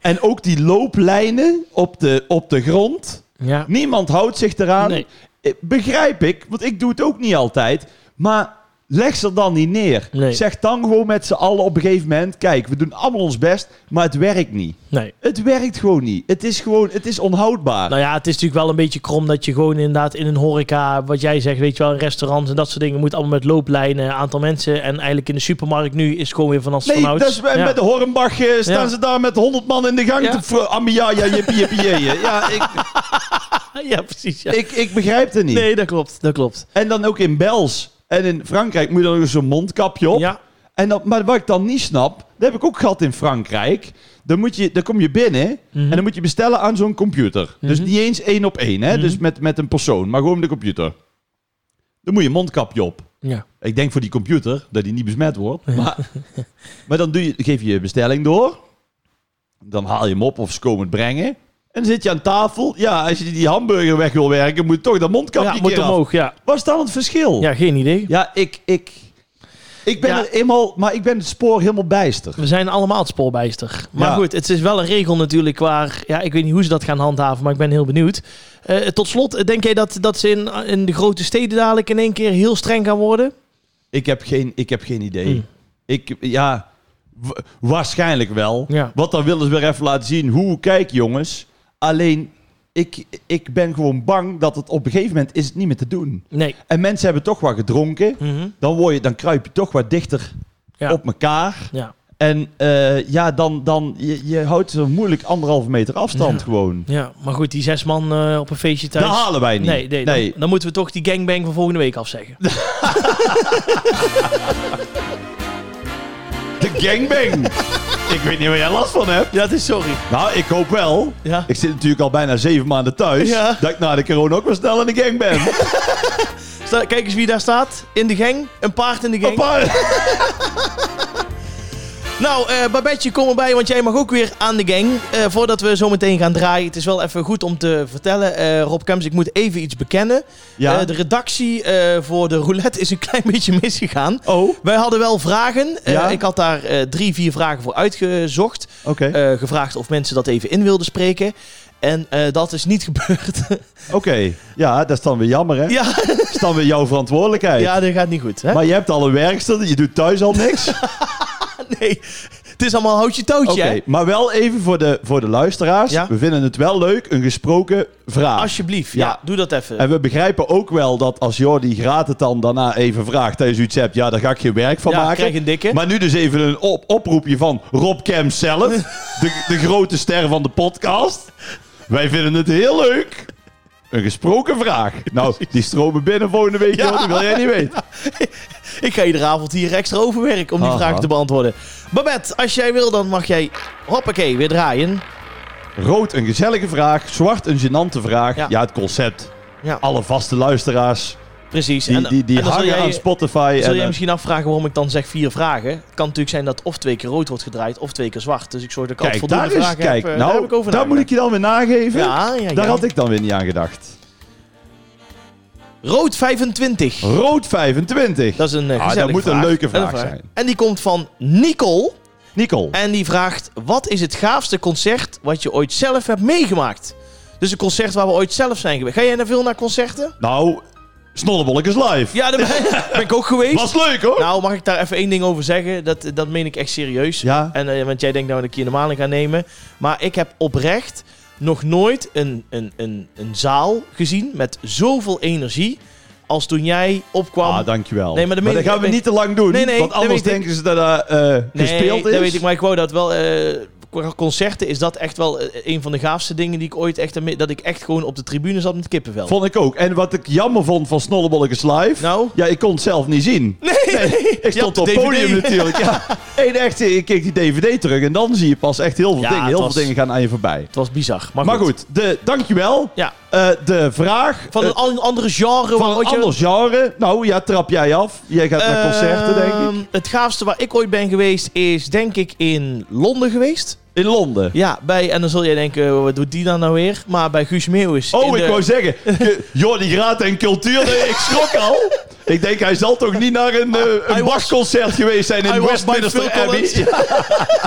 S2: En ook die looplijnen op de, op de grond.
S1: Ja.
S2: Niemand houdt zich eraan.
S1: Nee.
S2: Eh, Begrijp ik, want ik doe het ook niet altijd. Maar leg ze er dan niet neer.
S1: Nee.
S2: Zeg dan gewoon met z'n allen op een gegeven moment: kijk, we doen allemaal ons best, maar het werkt niet.
S1: Nee.
S2: Het werkt gewoon niet. Het is gewoon, het is onhoudbaar.
S1: Nou ja, het is natuurlijk wel een beetje krom dat je gewoon inderdaad in een horeca, wat jij zegt, weet je wel, in restaurants en dat soort dingen, moet allemaal met looplijnen, aantal mensen. En eigenlijk in de supermarkt nu is het gewoon weer van als
S2: Nee,
S1: vanouds.
S2: dat is, en
S1: Ja.
S2: met de Hornbach eh, staan
S1: Ja.
S2: ze daar met honderd man in de gang.
S1: Ja.
S2: te fro- Amia, ja, jippie, jippie, jeeën. Ja, ik,
S1: Ah, Ja, precies. ja.
S2: ik, ik begrijp het niet.
S1: Nee, dat klopt. Dat klopt.
S2: En dan ook in Bels en in Frankrijk moet je dan nog zo'n mondkapje op.
S1: Ja.
S2: En dat, maar wat ik dan niet snap, dat heb ik ook gehad in Frankrijk. Dan, moet je, dan kom je binnen
S1: Mhm.
S2: en dan moet je bestellen aan zo'n computer. Dus niet eens één op één, hè?
S1: Mhm.
S2: dus met, met een persoon, maar gewoon de computer. Dan moet je een mondkapje op.
S1: Ja.
S2: Ik denk voor die computer, dat die niet besmet wordt. Maar, maar dan doe je, geef je je bestelling door. Dan haal je hem op of ze komen het brengen. En dan zit je aan tafel. Ja, als je die hamburger weg wil werken, moet je toch dat mondkapje
S1: ja,
S2: keer
S1: moet
S2: af.
S1: omhoog, ja.
S2: Wat is dan het verschil?
S1: Ja, geen idee.
S2: Ja, ik, ik, ik ben
S1: Ja.
S2: er eenmaal, maar ik ben het spoor helemaal bijster.
S1: We zijn allemaal het spoorbijster. Maar
S2: Ja.
S1: goed, het is wel een regel natuurlijk waar... Ja, ik weet niet hoe ze dat gaan handhaven, maar ik ben heel benieuwd. Eh, tot slot, denk jij dat, dat ze in, in de grote steden dadelijk in één keer heel streng gaan worden?
S2: Ik heb geen, ik heb geen idee.
S1: Hmm.
S2: Ik, ja, wa- waarschijnlijk wel.
S1: Ja.
S2: Wat dan willen ze weer even laten zien. Hoe, kijk jongens. Alleen, ik, ik ben gewoon bang dat het op een gegeven moment is het niet meer te doen.
S1: Nee.
S2: En mensen hebben toch wat gedronken.
S1: Mhm.
S2: Dan, word je, dan kruip je toch wat dichter
S1: Ja.
S2: op elkaar.
S1: Ja.
S2: En eh, ja, dan, dan je, je houdt zo moeilijk anderhalve meter afstand
S1: Ja.
S2: gewoon.
S1: ja, maar goed, die zes man eh, op een feestje
S2: Dat
S1: thuis...
S2: halen wij niet.
S1: nee, nee, dan- Dan, moeten we toch die gangbang van volgende week afzeggen.
S2: De gangbang. ik weet niet waar jij last van hebt.
S1: Ja, dat is sorry.
S2: Nou, ik hoop wel.
S1: Ja.
S2: Ik zit natuurlijk al bijna zeven maanden thuis.
S1: Ja.
S2: Dat ik na de corona ook wel snel in de gang ben.
S1: Sta- kijk eens wie daar staat. In de gang. Een paard in de gang.
S2: Apart.
S1: Nou, eh Babetje, kom erbij, want jij mag ook weer aan de gang. Eh, voordat we zo meteen gaan draaien, het is wel even goed om te vertellen. eh, Rob Kems, ik moet even iets bekennen.
S2: Ja.
S1: Eh, de redactie eh, voor de roulette is een klein beetje misgegaan.
S2: Oh, oké.
S1: Wij hadden wel vragen. Eh,
S2: Ja.
S1: ik had daar eh, drie, vier vragen voor uitgezocht. Eh, gevraagd of mensen dat even in wilden spreken. En eh, dat is niet gebeurd.
S2: Oké, ja, dat is dan weer jammer, hè?
S1: ja,
S2: Dat is dan weer jouw verantwoordelijkheid.
S1: ja, dat gaat niet goed. Hè?
S2: Maar je hebt al een werkster, je doet thuis al niks.
S1: Nee, het is allemaal houtje touwtje.
S2: Oké,
S1: hè?
S2: maar wel even voor de, voor de luisteraars.
S1: Ja?
S2: We vinden het wel leuk, een gesproken vraag.
S1: Alsjeblieft, ja.
S2: Ja.
S1: doe dat even.
S2: En we begrijpen ook wel dat als Jordi Graat het dan daarna even vraagt... dat je zoiets hebt, ja, daar ga ik geen werk van
S1: Ja,
S2: maken.
S1: krijg een dikke.
S2: Maar nu dus even een op oproepje van Rob Kemp zelf. de, de grote ster van de podcast. Wij vinden het heel leuk. Een gesproken vraag. Nou, die stromen binnen volgende week,
S1: Ja.
S2: Jordi, wil jij niet weten.
S1: Ik ga iedere avond hier extra overwerken om die
S2: Aha.
S1: vragen te beantwoorden. Babette, als jij wil, dan mag jij... Hoppakee, weer draaien.
S2: Rood een gezellige vraag, zwart een gênante vraag.
S1: Ja.
S2: Ja, het concept.
S1: Ja,
S2: Alle vaste luisteraars
S1: precies.
S2: die,
S1: en,
S2: die, die
S1: en dan
S2: hangen
S1: zul jij,
S2: aan Spotify.
S1: Zul
S2: En,
S1: jij
S2: eh,
S1: misschien afvragen waarom ik dan zeg vier vragen? Het kan natuurlijk zijn dat of twee keer rood wordt gedraaid of twee keer zwart. Dus ik zorg dat ik
S2: kijk,
S1: altijd
S2: daar
S1: voldoende
S2: is,
S1: vragen
S2: kijk,
S1: heb. eh, daar heb
S2: nou,
S1: ik over
S2: daar moet ik je dan weer nageven.
S1: nagedacht. Ja, ja, ja.
S2: Daar had ik dan weer niet aan gedacht.
S1: Rood 25.
S2: Rood 25.
S1: Dat is een eh,
S2: Oh. Ah,
S1: gezellige
S2: dat moet een
S1: vraag.
S2: leuke
S1: En
S2: vraag zijn.
S1: En die komt van Nicole.
S2: Nicole.
S1: En die vraagt: wat is het gaafste concert wat je ooit zelf hebt meegemaakt? Dus een concert waar we ooit zelf zijn geweest. Ga jij nou veel naar concerten?
S2: Nou, Snollebolletjes live.
S1: Ja, daar ben, ben ik ook geweest.
S2: Was leuk hoor.
S1: Nou, mag ik daar even één ding over zeggen? Dat, dat meen ik echt serieus.
S2: Ja.
S1: En, eh, want jij denkt nou dat ik hier normaal in ga nemen. Maar ik heb oprecht nog nooit een, een, een, een zaal gezien met zoveel energie als toen jij opkwam.
S2: ah, dankjewel.
S1: Nee, maar dat meen
S2: dat
S1: ik-
S2: gaan we
S1: dat
S2: niet te lang doen.
S1: Nee, nee,
S2: want
S1: dat
S2: anders
S1: weet ik.
S2: denken ze dat dat eh,
S1: Nee,
S2: gespeeld is.
S1: dat weet ik, maar ik wou dat wel... eh, qua concerten is dat echt wel eh, een van de gaafste dingen die ik ooit echt... ermee- Dat ik echt gewoon op de tribune zat met kippenvel.
S2: Vond ik ook. En wat ik jammer vond van Snollebolletjes live...
S1: Nou?
S2: Ja, ik kon het zelf niet zien.
S1: nee,
S2: Ik stond op het podium natuurlijk. Ja. En echt, ik keek die DVD terug en dan zie je pas echt heel veel
S1: Ja,
S2: dingen.
S1: het
S2: Heel
S1: was-
S2: veel dingen gaan aan je voorbij.
S1: Het was bizar. Maar,
S2: Maar goed, de, dankjewel.
S1: Ja.
S2: Eh, de vraag...
S1: Van
S2: eh,
S1: een an- andere genre.
S2: van
S1: waar
S2: een
S1: ooit je-
S2: ander genre. Nou ja, trap jij af. Jij gaat naar concerten, denk ik.
S1: Ehm, Het gaafste waar ik ooit ben geweest is denk ik in Londen geweest.
S2: In Londen.
S1: Ja, bij, en dan zul jij denken, wat doet die dan nou weer? Maar bij Guus Meeuwis. in
S2: Oh, ik
S1: de-
S2: wou zeggen, je- Jordi Graat en cultuur, nee, ik schrok al. Ik denk, hij zal toch niet naar een, eh,
S1: Ah, Hij
S2: een
S1: was-
S2: basconcert geweest zijn
S1: hij
S2: in
S1: was
S2: Westminster
S1: bij Phil
S2: Abbey.
S1: Collins.
S2: Ja,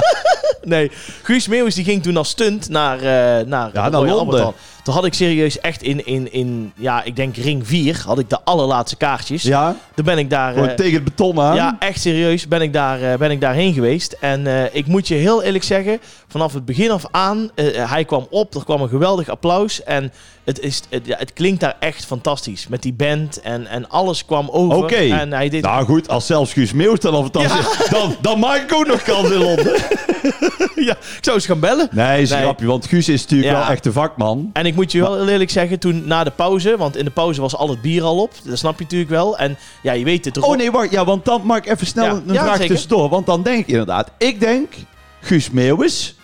S1: Nee, Guus Meeuwis die ging toen als stunt naar, eh naar,
S2: naar
S1: Royal
S2: Londen.
S1: Albert Hall. Toen had ik serieus echt in, in, in, ja, ik denk ring 4, had ik de allerlaatste kaartjes.
S2: ja
S1: Toen ben ik daar...
S2: gewoon
S1: eh,
S2: tegen het beton aan.
S1: Ja, echt serieus ben ik, daar, eh, ben ik daarheen geweest. En eh, ik moet je heel eerlijk zeggen, vanaf het begin af aan, eh, hij kwam op, er kwam een geweldig applaus. En het, is, het, ja, het klinkt daar echt fantastisch. Met die band en, en alles kwam over.
S2: Oké.
S1: En hij deed
S2: Nou goed, als zelfs Guus Meeuws dan al fantastisch is, dan, dan maak ik ook nog kans in Londen.
S1: ja, ik zou eens gaan bellen.
S2: Nee, is een
S1: Nee.
S2: grapje, want Guus is natuurlijk
S1: Ja.
S2: wel echt een vakman.
S1: En ik moet je wel heel eerlijk zeggen, toen na de pauze, want in de pauze was al het bier al op. Dat snap je natuurlijk wel. En ja, je weet het.
S2: Oh nee, wacht, ja, want dan maak ik even snel
S1: Ja.
S2: een
S1: Ja,
S2: vraag
S1: zeker.
S2: tussendoor. Want dan denk ik inderdaad, ik denk Guus Meeuwis,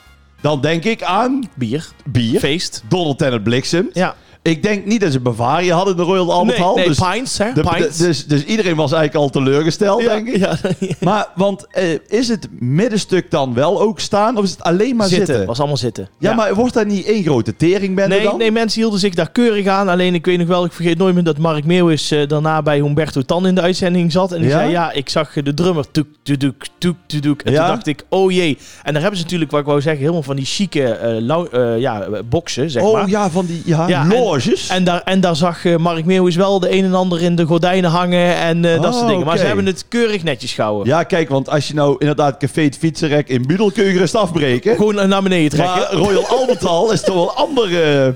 S2: dan denk ik aan
S1: Bier,
S2: bier,
S1: feest.
S2: Donald en het bliksem.
S1: Ja.
S2: Ik denk niet dat ze Bavaria hadden in de Royal Albert
S1: nee,
S2: Hall.
S1: nee,
S2: dus,
S1: pints, hè?
S2: de-
S1: pints.
S2: de- dus, dus iedereen was eigenlijk al teleurgesteld,
S1: ja,
S2: denk ik.
S1: ja.
S2: Maar, want eh, is het middenstuk dan wel ook staan? Of is het alleen maar zitten?
S1: zitten. Was allemaal zitten.
S2: Ja, maar wordt daar niet één grote teringbende
S1: Nee,
S2: dan?
S1: nee, mensen hielden zich daar keurig aan. Alleen ik weet nog wel, ik vergeet nooit meer dat Mark Meeuwis eh, daarna bij Humberto Tan in de uitzending zat. En die
S2: Ja?
S1: zei, ja, ik zag eh, de drummer toek, toek, toek, toek. En
S2: Ja?
S1: toen dacht ik, oh jee. En daar hebben ze natuurlijk, wat ik wou zeggen, helemaal van die chique eh lau- eh, ja, eh, boxen, zeg
S2: oh
S1: maar.
S2: ja, van die ja,
S1: Ja, en-
S2: loges.
S1: En daar, en daar zag eh, Mark Meeuwis wel de een en ander in de gordijnen hangen en eh, dat
S2: Oh,
S1: soort dingen. Maar ze
S2: oké.
S1: hebben het keurig netjes gehouden.
S2: ja, kijk, want als je nou inderdaad café het fietsenrek in Budel kun je gerust afbreken.
S1: Gewoon eh, naar beneden trekken.
S2: Maar Royal Albert Hall is toch wel een ander eh,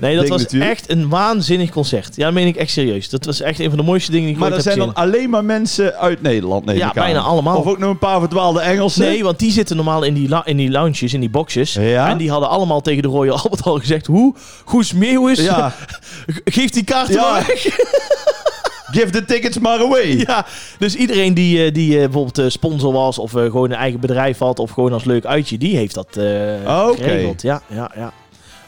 S1: Nee, dat
S2: ding
S1: was
S2: natuurlijk.
S1: echt een waanzinnig concert. Ja, dat meen ik echt serieus. Dat was echt een van de mooiste dingen die ik
S2: Maar
S1: ooit
S2: er
S1: heb
S2: zijn
S1: gezien.
S2: dan alleen maar mensen uit Nederland, neem
S1: Ja,
S2: ik aan.
S1: bijna allemaal.
S2: Of ook nog een paar verdwaalde Engelsen.
S1: Nee, want die zitten normaal in die, la- in die lounges, in die boxes.
S2: Ja?
S1: En die hadden allemaal tegen de Royal Albert al gezegd... Hoe? Goes Meeuwis?
S2: Ja,
S1: Geef die kaarten
S2: Ja.
S1: maar weg.
S2: give the tickets maar away.
S1: ja. Dus iedereen die, eh, die eh, bijvoorbeeld eh, sponsor was... of eh, gewoon een eigen bedrijf had... of gewoon als leuk uitje, die heeft dat eh
S2: Oké.
S1: geregeld. Ja, ja, ja.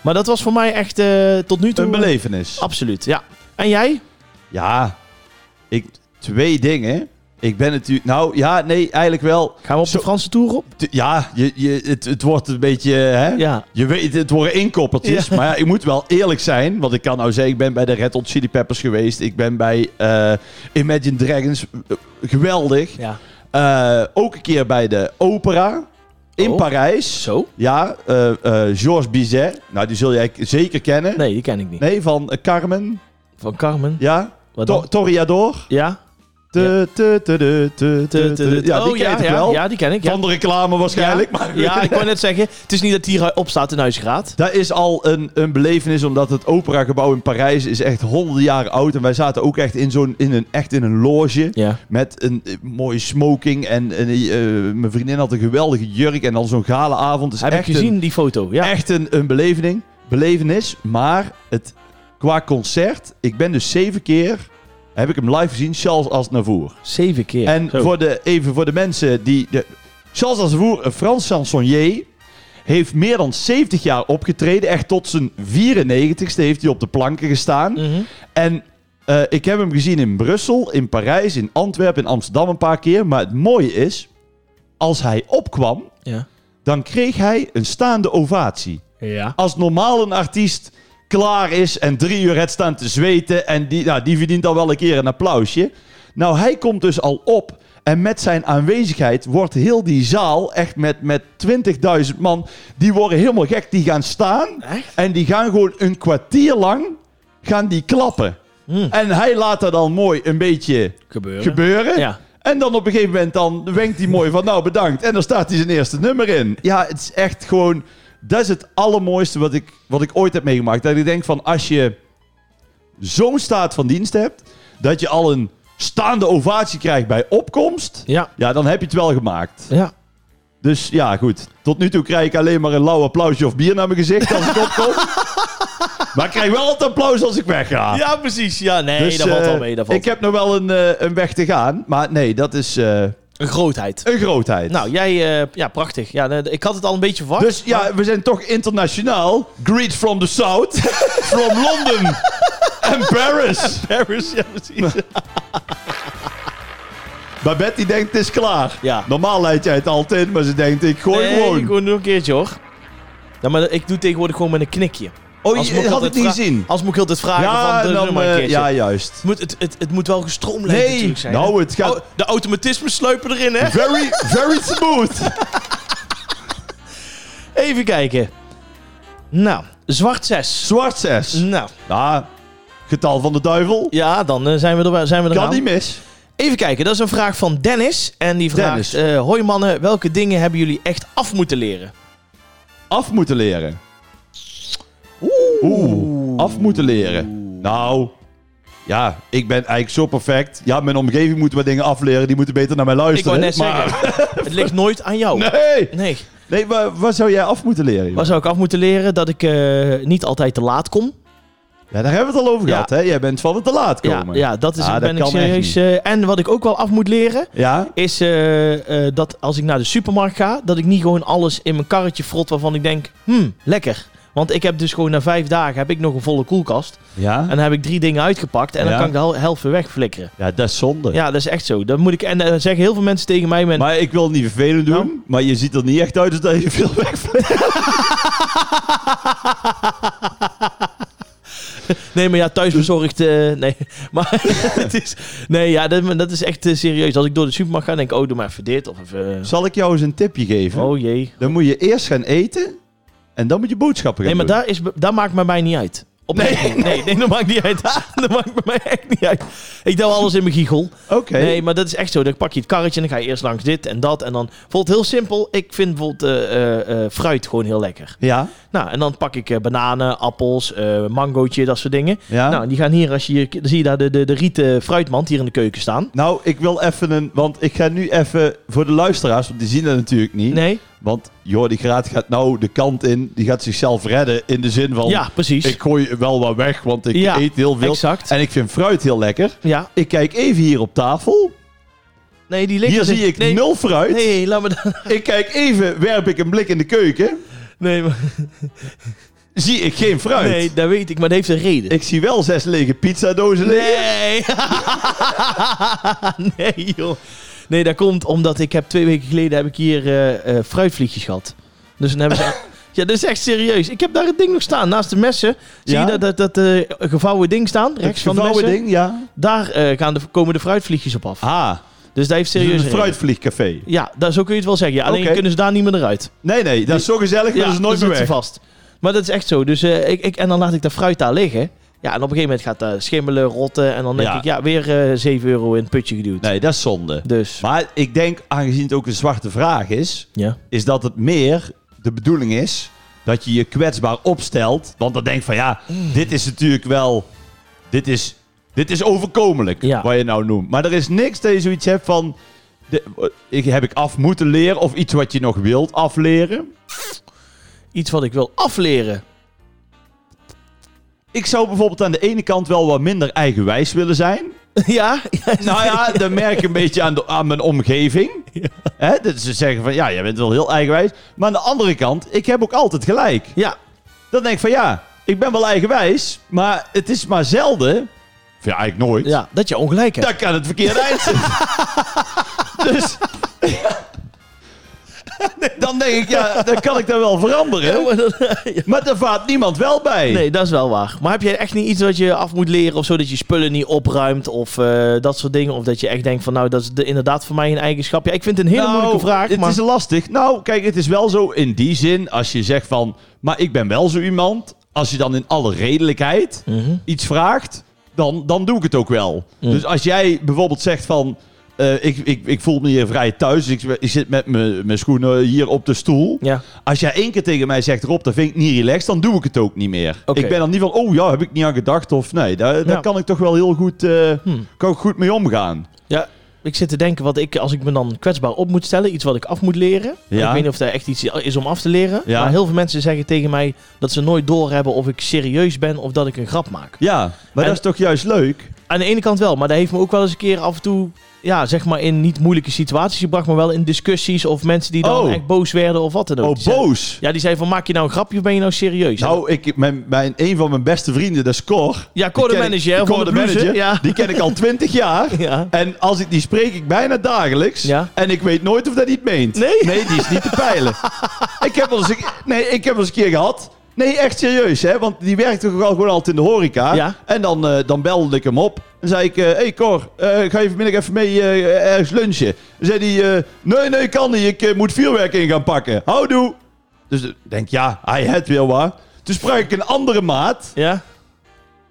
S1: Maar dat was voor mij echt eh, tot nu toe...
S2: Een belevenis.
S1: Absoluut, ja. En jij?
S2: Ja, ik, twee dingen. Ik ben natuurlijk... Nou, ja, nee, eigenlijk wel...
S1: Gaan we op
S2: Zo-
S1: de Franse Tour op?
S2: T- Ja, je, je, het, het wordt een beetje... Hè?
S1: Ja.
S2: Je weet, het worden inkoppertjes. Maar ja, ik moet wel eerlijk zijn. Want ik kan nou zeggen, ik ben bij de Red Hot Chili Peppers geweest. Ik ben bij eh, Imagine Dragons. eh, Geweldig.
S1: Ja.
S2: Eh, ook een keer bij de opera. in
S1: Oh.
S2: Parijs.
S1: Zo?
S2: Ja, eh eh, Georges Bizet. Nou, die zul jij k- zeker kennen.
S1: Nee, die ken ik niet.
S2: Nee, van eh, Carmen.
S1: Van Carmen.
S2: Ja,
S1: Wat
S2: To-
S1: dan?
S2: Toriador.
S1: Ja?
S2: Te, te, te, te, te, te, te. Ja, die
S1: Oh, ja,
S2: ken ik
S1: ja,
S2: wel.
S1: Ja, die ken ik. Ja.
S2: Van de reclame waarschijnlijk.
S1: Ja,
S2: Maar
S1: ja, ik wou net zeggen, het is niet dat hier opstaat in huisgraad.
S2: Dat is al een, een belevenis, omdat het operagebouw in Parijs is echt honderden jaren oud. En wij zaten ook echt in, zo'n, in, een, echt in een loge.
S1: Ja.
S2: Met een eh, mooie smoking. En, en eh, mijn vriendin had een geweldige jurk. En dan zo'n galaavond. Dus
S1: Heb
S2: echt
S1: ik gezien, die foto.
S2: Een,
S1: Ja.
S2: echt een, een belevening, belevenis. Maar het, qua concert, ik ben dus zeven keer... Heb ik hem live gezien, Charles Aznavour.
S1: Zeven keer.
S2: En
S1: Zo.
S2: voor de, even voor de mensen die... De, Charles Aznavour, een eh, Frans chansonnier, heeft meer dan 70 jaar opgetreden. Echt tot zijn 94ste heeft hij op de planken gestaan.
S1: Mhm.
S2: En eh, ik heb hem gezien in Brussel, in Parijs, in Antwerpen, in Amsterdam een paar keer. Maar het mooie is, als hij opkwam,
S1: ja.
S2: dan kreeg hij een staande ovatie
S1: Ja.
S2: als normaal een artiest klaar is en drie uur het staan te zweten en die, nou, die verdient al wel een keer een applausje. Nou, hij komt dus al op en met zijn aanwezigheid wordt heel die zaal echt met, met 20.000 man, die worden helemaal gek. Die gaan staan
S1: Echt?
S2: en die gaan gewoon een kwartier lang gaan die klappen.
S1: Hmm.
S2: En hij laat dat dan mooi een beetje
S1: Gebeuren.
S2: gebeuren.
S1: Ja.
S2: En dan op een gegeven moment dan wenkt hij mooi van nou bedankt. En dan staat hij zijn eerste nummer in. Ja, het is echt gewoon... Dat is het allermooiste wat ik, wat ik ooit heb meegemaakt. Dat ik denk van als je zo'n staat van dienst hebt... dat je al een staande ovatie krijgt bij opkomst...
S1: Ja.
S2: ja, dan heb je het wel gemaakt.
S1: Ja.
S2: Dus ja, goed. Tot nu toe krijg ik alleen maar een lauw applausje of bier naar mijn gezicht als ik opkom. maar ik krijg wel het applaus als ik wegga.
S1: Ja, precies. Ja, nee,
S2: Ah. Dus,
S1: dat valt
S2: eh,
S1: al mee. Dat valt
S2: ik heb nog wel een, eh, een weg te gaan. Maar nee, dat is eh,
S1: Een grootheid.
S2: een grootheid.
S1: Nou, jij... eh, ja, prachtig. Ja, nee, ik had het al een beetje verwacht.
S2: dus ja, we zijn toch internationaal. Greet from the South. from London. En Paris.
S1: Paris, ja, precies.
S2: Babette die denkt, het is klaar.
S1: Ja.
S2: Normaal leid jij het altijd, maar ze denkt, ik gooi
S1: nee,
S2: gewoon.
S1: gewoon nog een keertje, hoor. Ja, maar ik doe tegenwoordig gewoon met een knikje.
S2: Oh,
S1: Als
S2: je
S1: moet
S2: had
S1: altijd
S2: het niet
S1: vra-
S2: gezien.
S1: Als moet Ah, ik altijd vragen
S2: Ja,
S1: van... De,
S2: dan,
S1: nummer een
S2: eh,
S1: keertje.
S2: ja, juist.
S1: Het moet, het, het, het moet wel gestroomlijnd
S2: Nee,
S1: natuurlijk zijn. hè?
S2: nou, het gaat
S1: Oh, de automatismen sluipen erin, hè?
S2: very, very smooth.
S1: Even kijken. Nou, zwart 6.
S2: Zwart 6.
S1: Nou,
S2: Ja, getal van de duivel.
S1: ja, dan eh, zijn we er, wel- zijn we er
S2: Kan niet mis.
S1: Even kijken, dat is een vraag van Dennis. En die vraagt...
S2: Dennis.
S1: eh, Hoi mannen, welke dingen hebben jullie echt af moeten leren?
S2: af moeten leren. Oeh. af moeten leren. Nou, ja, ik ben eigenlijk zo perfect. Ja, mijn omgeving moet wat dingen afleren. Die moeten beter naar mij
S1: Ik wou
S2: luisteren.
S1: net
S2: maar-
S1: zeggen, het ligt nooit aan jou.
S2: Nee,
S1: Nee.
S2: nee maar wat zou jij af moeten leren?
S1: Wat
S2: jongen?
S1: zou ik af moeten leren? Dat ik eh, niet altijd te laat kom.
S2: Ja, daar hebben we het al over
S1: Ja.
S2: gehad. Hè? Jij bent van het te laat
S1: Ja,
S2: komen.
S1: ja, dat is
S2: Ah, dat
S1: ben ik
S2: kan echt
S1: serieus. eh, en wat ik ook wel af moet leren...
S2: Ja?
S1: is eh, eh, dat als ik naar de supermarkt ga, dat ik niet gewoon alles in mijn karretje frot waarvan ik denk, hmm, lekker. Want ik heb dus gewoon na vijf dagen heb ik nog een volle koelkast.
S2: Ja?
S1: En dan heb ik drie dingen uitgepakt en dan
S2: Ja.
S1: kan ik de hel- helft weer wegflikkeren.
S2: ja, dat is zonde.
S1: Ja, dat is echt zo. Dat moet ik, en eh, zeggen heel veel mensen tegen mij, met,
S2: Maar ik wil het niet vervelend doen,
S1: Nou?
S2: maar je ziet er niet echt uit als dat je veel weg
S1: nee, maar ja, thuisbezorgd, eh, nee. Maar het is, nee, ja, dat, dat is echt eh, serieus. Als ik door de supermarkt ga, denk ik, oh, doe maar even dit of even...
S2: Zal ik jou eens een tipje geven?
S1: Oh jee.
S2: Dan moet je eerst gaan eten en dan moet je boodschappen
S1: Nee,
S2: gaan
S1: maar
S2: doen.
S1: daar, is, daar maakt bij mij niet uit. Op nee. Nee, nee, dat maakt niet uit. Dat maakt bij mij echt niet uit. Ik doe alles in mijn giegel.
S2: Oké.
S1: Nee, maar dat is echt zo. Dan pak je het karretje en dan ga je eerst langs dit en dat. En dan bijvoorbeeld heel simpel. Ik vind bijvoorbeeld eh, eh, eh, fruit gewoon heel lekker.
S2: Ja?
S1: Nou, en dan pak ik eh, bananen, appels, eh mangootje, dat soort dingen.
S2: Ja?
S1: Nou, en die gaan hier, als je hier, dan zie je daar de, de, de rieten fruitmand hier in de keuken staan.
S2: Nou, ik wil even een. Want ik ga nu even voor de luisteraars, want die zien dat natuurlijk niet.
S1: Nee?
S2: Want Jordi Graat gaat nou de kant in. Die gaat zichzelf redden in de zin van.
S1: Ja, precies.
S2: Ik gooi wel wat weg, want ik
S1: Ja,
S2: eet heel veel.
S1: exact.
S2: En ik vind fruit heel lekker.
S1: Ja.
S2: Ik kijk even hier op tafel.
S1: Nee, die liggen...
S2: Hier
S1: er-
S2: zie ik
S1: nee,
S2: nul fruit.
S1: Nee, laat me dan...
S2: Ik kijk even, werp ik een blik in de keuken.
S1: Nee, maar,
S2: Zie ik geen fruit.
S1: nee, dat weet ik, maar dat heeft een reden.
S2: Ik zie wel zes lege pizzadozen liggen.
S1: Nee. nee, joh. Nee, dat komt omdat ik heb twee weken geleden heb ik hier eh, eh, fruitvliegjes gehad. Dus dan hebben ze... Ja, dat is echt serieus. Ik heb daar het ding nog staan, naast de messen. Zie
S2: Ja?
S1: je dat, dat, dat eh, gevouwen ding staan,
S2: Het
S1: rechts van de
S2: gevouwen
S1: messen?
S2: ding, ja.
S1: Daar eh, gaan de, komen de fruitvliegjes op af.
S2: Ah,
S1: Dus dat heeft
S2: Het is
S1: serieus...
S2: een
S1: reden.
S2: fruitvliegcafé.
S1: Ja, daar, zo kun je het wel zeggen. Ja, alleen
S2: Oké.
S1: kunnen ze daar niet meer naar uit.
S2: Nee, nee, dat is zo gezellig, maar
S1: Ja, dus
S2: dat is nooit
S1: dan
S2: meer
S1: zit
S2: weg.
S1: ze vast. Maar dat is echt zo. Dus, eh, ik, ik, en dan laat ik dat fruit daar liggen. Ja, en op een gegeven moment gaat dat schimmelen, rotten. En dan denk
S2: Ja.
S1: ik, ja, weer eh 7 euro in het putje geduwd.
S2: Nee, dat is zonde.
S1: Dus,
S2: Maar ik denk, aangezien het ook een zwarte vraag is,
S1: ja.
S2: is dat het meer de bedoeling is dat je je kwetsbaar opstelt. Want dan denk je van ja, dit is natuurlijk wel, dit is, dit is overkomelijk,
S1: Ja.
S2: wat je nou noemt. Maar er is niks dat je zoiets hebt van, de, ik, heb ik af moeten leren of iets wat je nog wilt afleren.
S1: Iets wat ik wil afleren.
S2: Ik zou bijvoorbeeld aan de ene kant wel wat minder eigenwijs willen zijn.
S1: ja? ja,
S2: Nou ja, dat merk ik een beetje aan, de, aan mijn omgeving. Hè? Dat ze zeggen van, ja, jij bent wel heel eigenwijs. Maar aan de andere kant, ik heb ook altijd gelijk.
S1: ja.
S2: Dan denk ik van, ja, ik ben wel eigenwijs, maar het is maar zelden... Of ja, eigenlijk nooit.
S1: Ja, dat je ongelijk hebt.
S2: Dan kan het verkeerde eind zitten. dus... Dan denk ik, ja, dan kan ik dat wel veranderen.
S1: Ja, maar dat-
S2: Maar daar vaart niemand wel bij.
S1: Nee, dat is wel waar. Maar heb jij echt niet iets wat je af moet leren of zo? Dat je spullen niet opruimt of eh, dat soort dingen? Of dat je echt denkt van nou, dat is de, inderdaad voor mij een eigenschap. Ja, ik vind het een hele
S2: Nou,
S1: moeilijke vraag.
S2: Het
S1: maar...
S2: is lastig. Nou, kijk, het is wel zo in die zin. Als je zegt van, maar ik ben wel zo iemand. Als je dan in alle redelijkheid
S1: Mhm.
S2: iets vraagt, dan, dan doe ik het ook wel. Dus als jij bijvoorbeeld zegt van, eh, ik, ik, ik voel me hier vrij thuis. Ik, ik zit met mijn mijn schoenen hier op de stoel.
S1: Ja.
S2: Als jij één keer tegen mij zegt, Rob, dat vind ik niet relaxed, dan doe ik het ook niet meer.
S1: Oké.
S2: Ik ben dan niet van, oh ja, heb ik niet aan gedacht. Of nee, daar, daar
S1: Ja.
S2: kan ik toch wel heel goed, eh,
S1: Hm.
S2: kan ik goed mee omgaan.
S1: ja, ik zit te denken wat ik, als ik me dan kwetsbaar op moet stellen, iets wat ik af moet leren. Ik
S2: Ja.
S1: weet niet of dat echt iets is om af te leren.
S2: Ja.
S1: Maar heel veel mensen zeggen tegen mij dat ze nooit doorhebben of ik serieus ben of dat ik een grap maak.
S2: Ja, maar
S1: En-
S2: dat is toch juist leuk?
S1: Aan de ene kant wel, maar dat heeft me ook wel eens een keer af en toe, ja, zeg maar in niet moeilijke situaties gebracht, maar wel in discussies of mensen die dan
S2: Oh.
S1: echt boos werden of wat dan ook.
S2: Oh,
S1: Die zeiden-
S2: boos.
S1: Ja, die zei van, maak je nou een grapje of ben je nou serieus?
S2: Nou, ik, mijn, mijn, een van mijn beste vrienden, dat is Cor.
S1: ja, code
S2: Die ken
S1: manager
S2: ik-
S1: hè, van de
S2: Cor de
S1: blues, hè?
S2: manager,
S1: Ja.
S2: Die ken ik al twintig jaar.
S1: ja.
S2: En als ik, die spreek ik bijna dagelijks.
S1: Ja.
S2: En ik weet nooit of dat niet meent.
S1: Nee?
S2: die is niet te peilen. ik, heb wel eens een, nee, ik heb wel eens een keer gehad. Nee, echt serieus, hè? Want die werkte toch al gewoon altijd in de horeca.
S1: Ja.
S2: En dan, eh, dan belde ik hem op. En zei ik: Hé hey Cor, eh, ga je vanmiddag even mee eh, ergens lunchen? Dan zei hij: eh, Nee, nee, kan niet. Ik eh, moet vuurwerk in gaan pakken. Houdoe. Dus ik denk: Ja, hij het weer waar. Toen sprak ik een andere maat.
S1: Ja.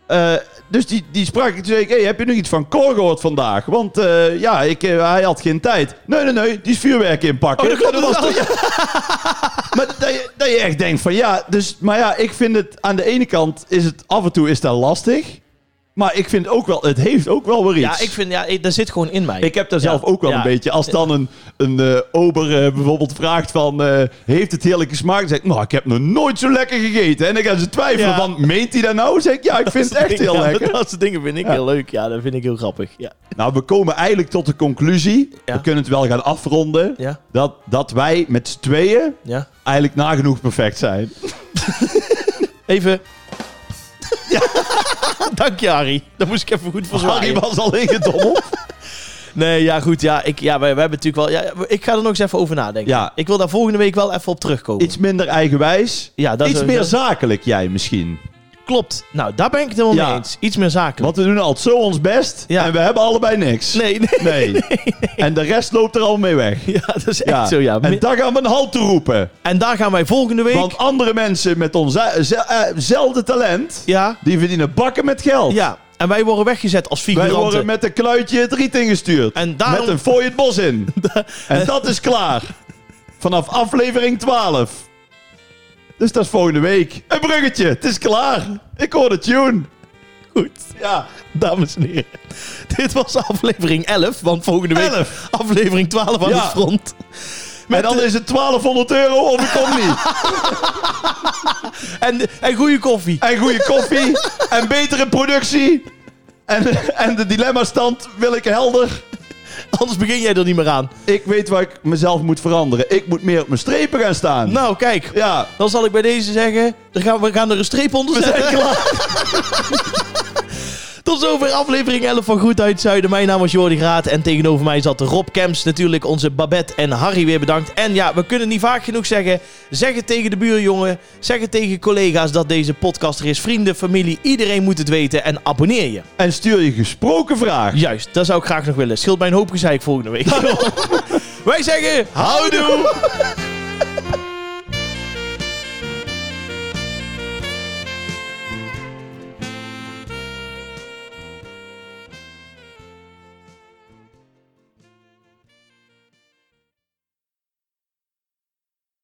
S2: Eh, dus die, die sprak ik. Toen zei ik, hey, heb je nog iets van Cor gehoord vandaag? Want eh, ja, ik, eh, hij had geen tijd. Nee, nee, nee, die is vuurwerk inpakken.
S1: Oh, dat klopt
S2: was toch- ja. Maar dat je, dat je echt denkt van ja, dus, maar ja, ik vind het aan de ene kant is het af en toe is dat lastig. Maar ik vind ook wel, het heeft ook wel weer iets.
S1: Ja, ik vind, ja, ik- dat zit gewoon in mij.
S2: Ik heb daar zelf
S1: Ja,
S2: ook wel
S1: ja.
S2: een beetje. Als dan een, een eh, ober eh, bijvoorbeeld vraagt van... eh, heeft het heerlijke smaak? Dan zeg ik, nou, ik heb nog nooit zo lekker gegeten. En dan gaan ze twijfelen
S1: Ja.
S2: van, meent hij dat nou? Dan zeg ik, ja, ik vind het echt
S1: Ja,
S2: heel
S1: dat-
S2: lekker.
S1: Dat soort dingen vind ik
S2: Ja.
S1: heel leuk. Ja, dat vind ik heel grappig. Ja.
S2: Nou, we komen eigenlijk tot de conclusie.
S1: Ja.
S2: We kunnen het wel gaan afronden.
S1: Ja.
S2: Dat, dat wij met z'n tweeën
S1: Ja.
S2: eigenlijk nagenoeg perfect zijn.
S1: Even. Dank je, Harry. Dat moest ik even goed voor
S2: Harry
S1: zwaaien.
S2: was al ingedommeld.
S1: Nee, ja, goed. Ja, ik, ja wij, wij hebben natuurlijk wel... Ja, ik ga er nog eens even over nadenken.
S2: Ja.
S1: Ik wil daar volgende week wel even op terugkomen.
S2: Iets minder eigenwijs.
S1: ja, dat
S2: Iets
S1: is-
S2: meer
S1: dat-
S2: zakelijk jij misschien.
S1: Klopt. Nou, daar ben ik het helemaal
S2: Ja.
S1: mee eens. Iets meer zakelijk.
S2: Want we doen altijd zo ons best.
S1: Ja.
S2: En we hebben allebei niks.
S1: Nee, nee.
S2: Nee. En de rest loopt er al mee weg.
S1: Ja, dat is echt zo, ja.
S2: En daar gaan we een halt toe roepen.
S1: En daar gaan wij volgende week...
S2: Want andere mensen met eh, onzelfde talent,
S1: Ja,
S2: die verdienen bakken met geld.
S1: ja. En wij worden weggezet als
S2: Wij
S1: figuranten.
S2: worden met een kluitje het riet ingestuurd.
S1: En daarom-
S2: Met een fooi het bos in. en dat is klaar. Vanaf aflevering 12. Dus dat is volgende week. Een bruggetje, het is klaar. Ik hoor de tune.
S1: Goed,
S2: Ja.
S1: dames en heren. Dit was aflevering 11, want volgende week
S2: 11.
S1: aflevering 12 aan
S2: Ja.
S1: de front.
S2: en dan is het 1200 euro of ik kom niet.
S1: En, en goede koffie.
S2: En goede koffie. en betere productie. En, en de dilemma-stand wil ik helder.
S1: Anders begin jij er niet meer aan.
S2: Ik weet waar ik mezelf moet veranderen. Ik moet meer op mijn strepen gaan staan.
S1: Nou, kijk.
S2: Ja,
S1: Dan zal ik bij deze zeggen, dan gaan we we gaan er een streep onder
S2: we
S1: zetten.
S2: zijn klaar.
S1: Tot zover aflevering 11 van Goed uit Zuiden. Mijn naam was Jordi Graat en tegenover mij zat Rob Kemps. Natuurlijk onze Babette en Harry weer bedankt. En ja, we kunnen niet vaak genoeg zeggen. Zeg het tegen de buurjongen. Zeg het tegen collega's dat deze podcast er is. Vrienden, familie, iedereen moet het weten. En abonneer je.
S2: En stuur je gesproken vraag.
S1: Juist, dat zou ik graag nog willen. Scheelt mij een hoop gezeik volgende week. Wij zeggen, houdoe!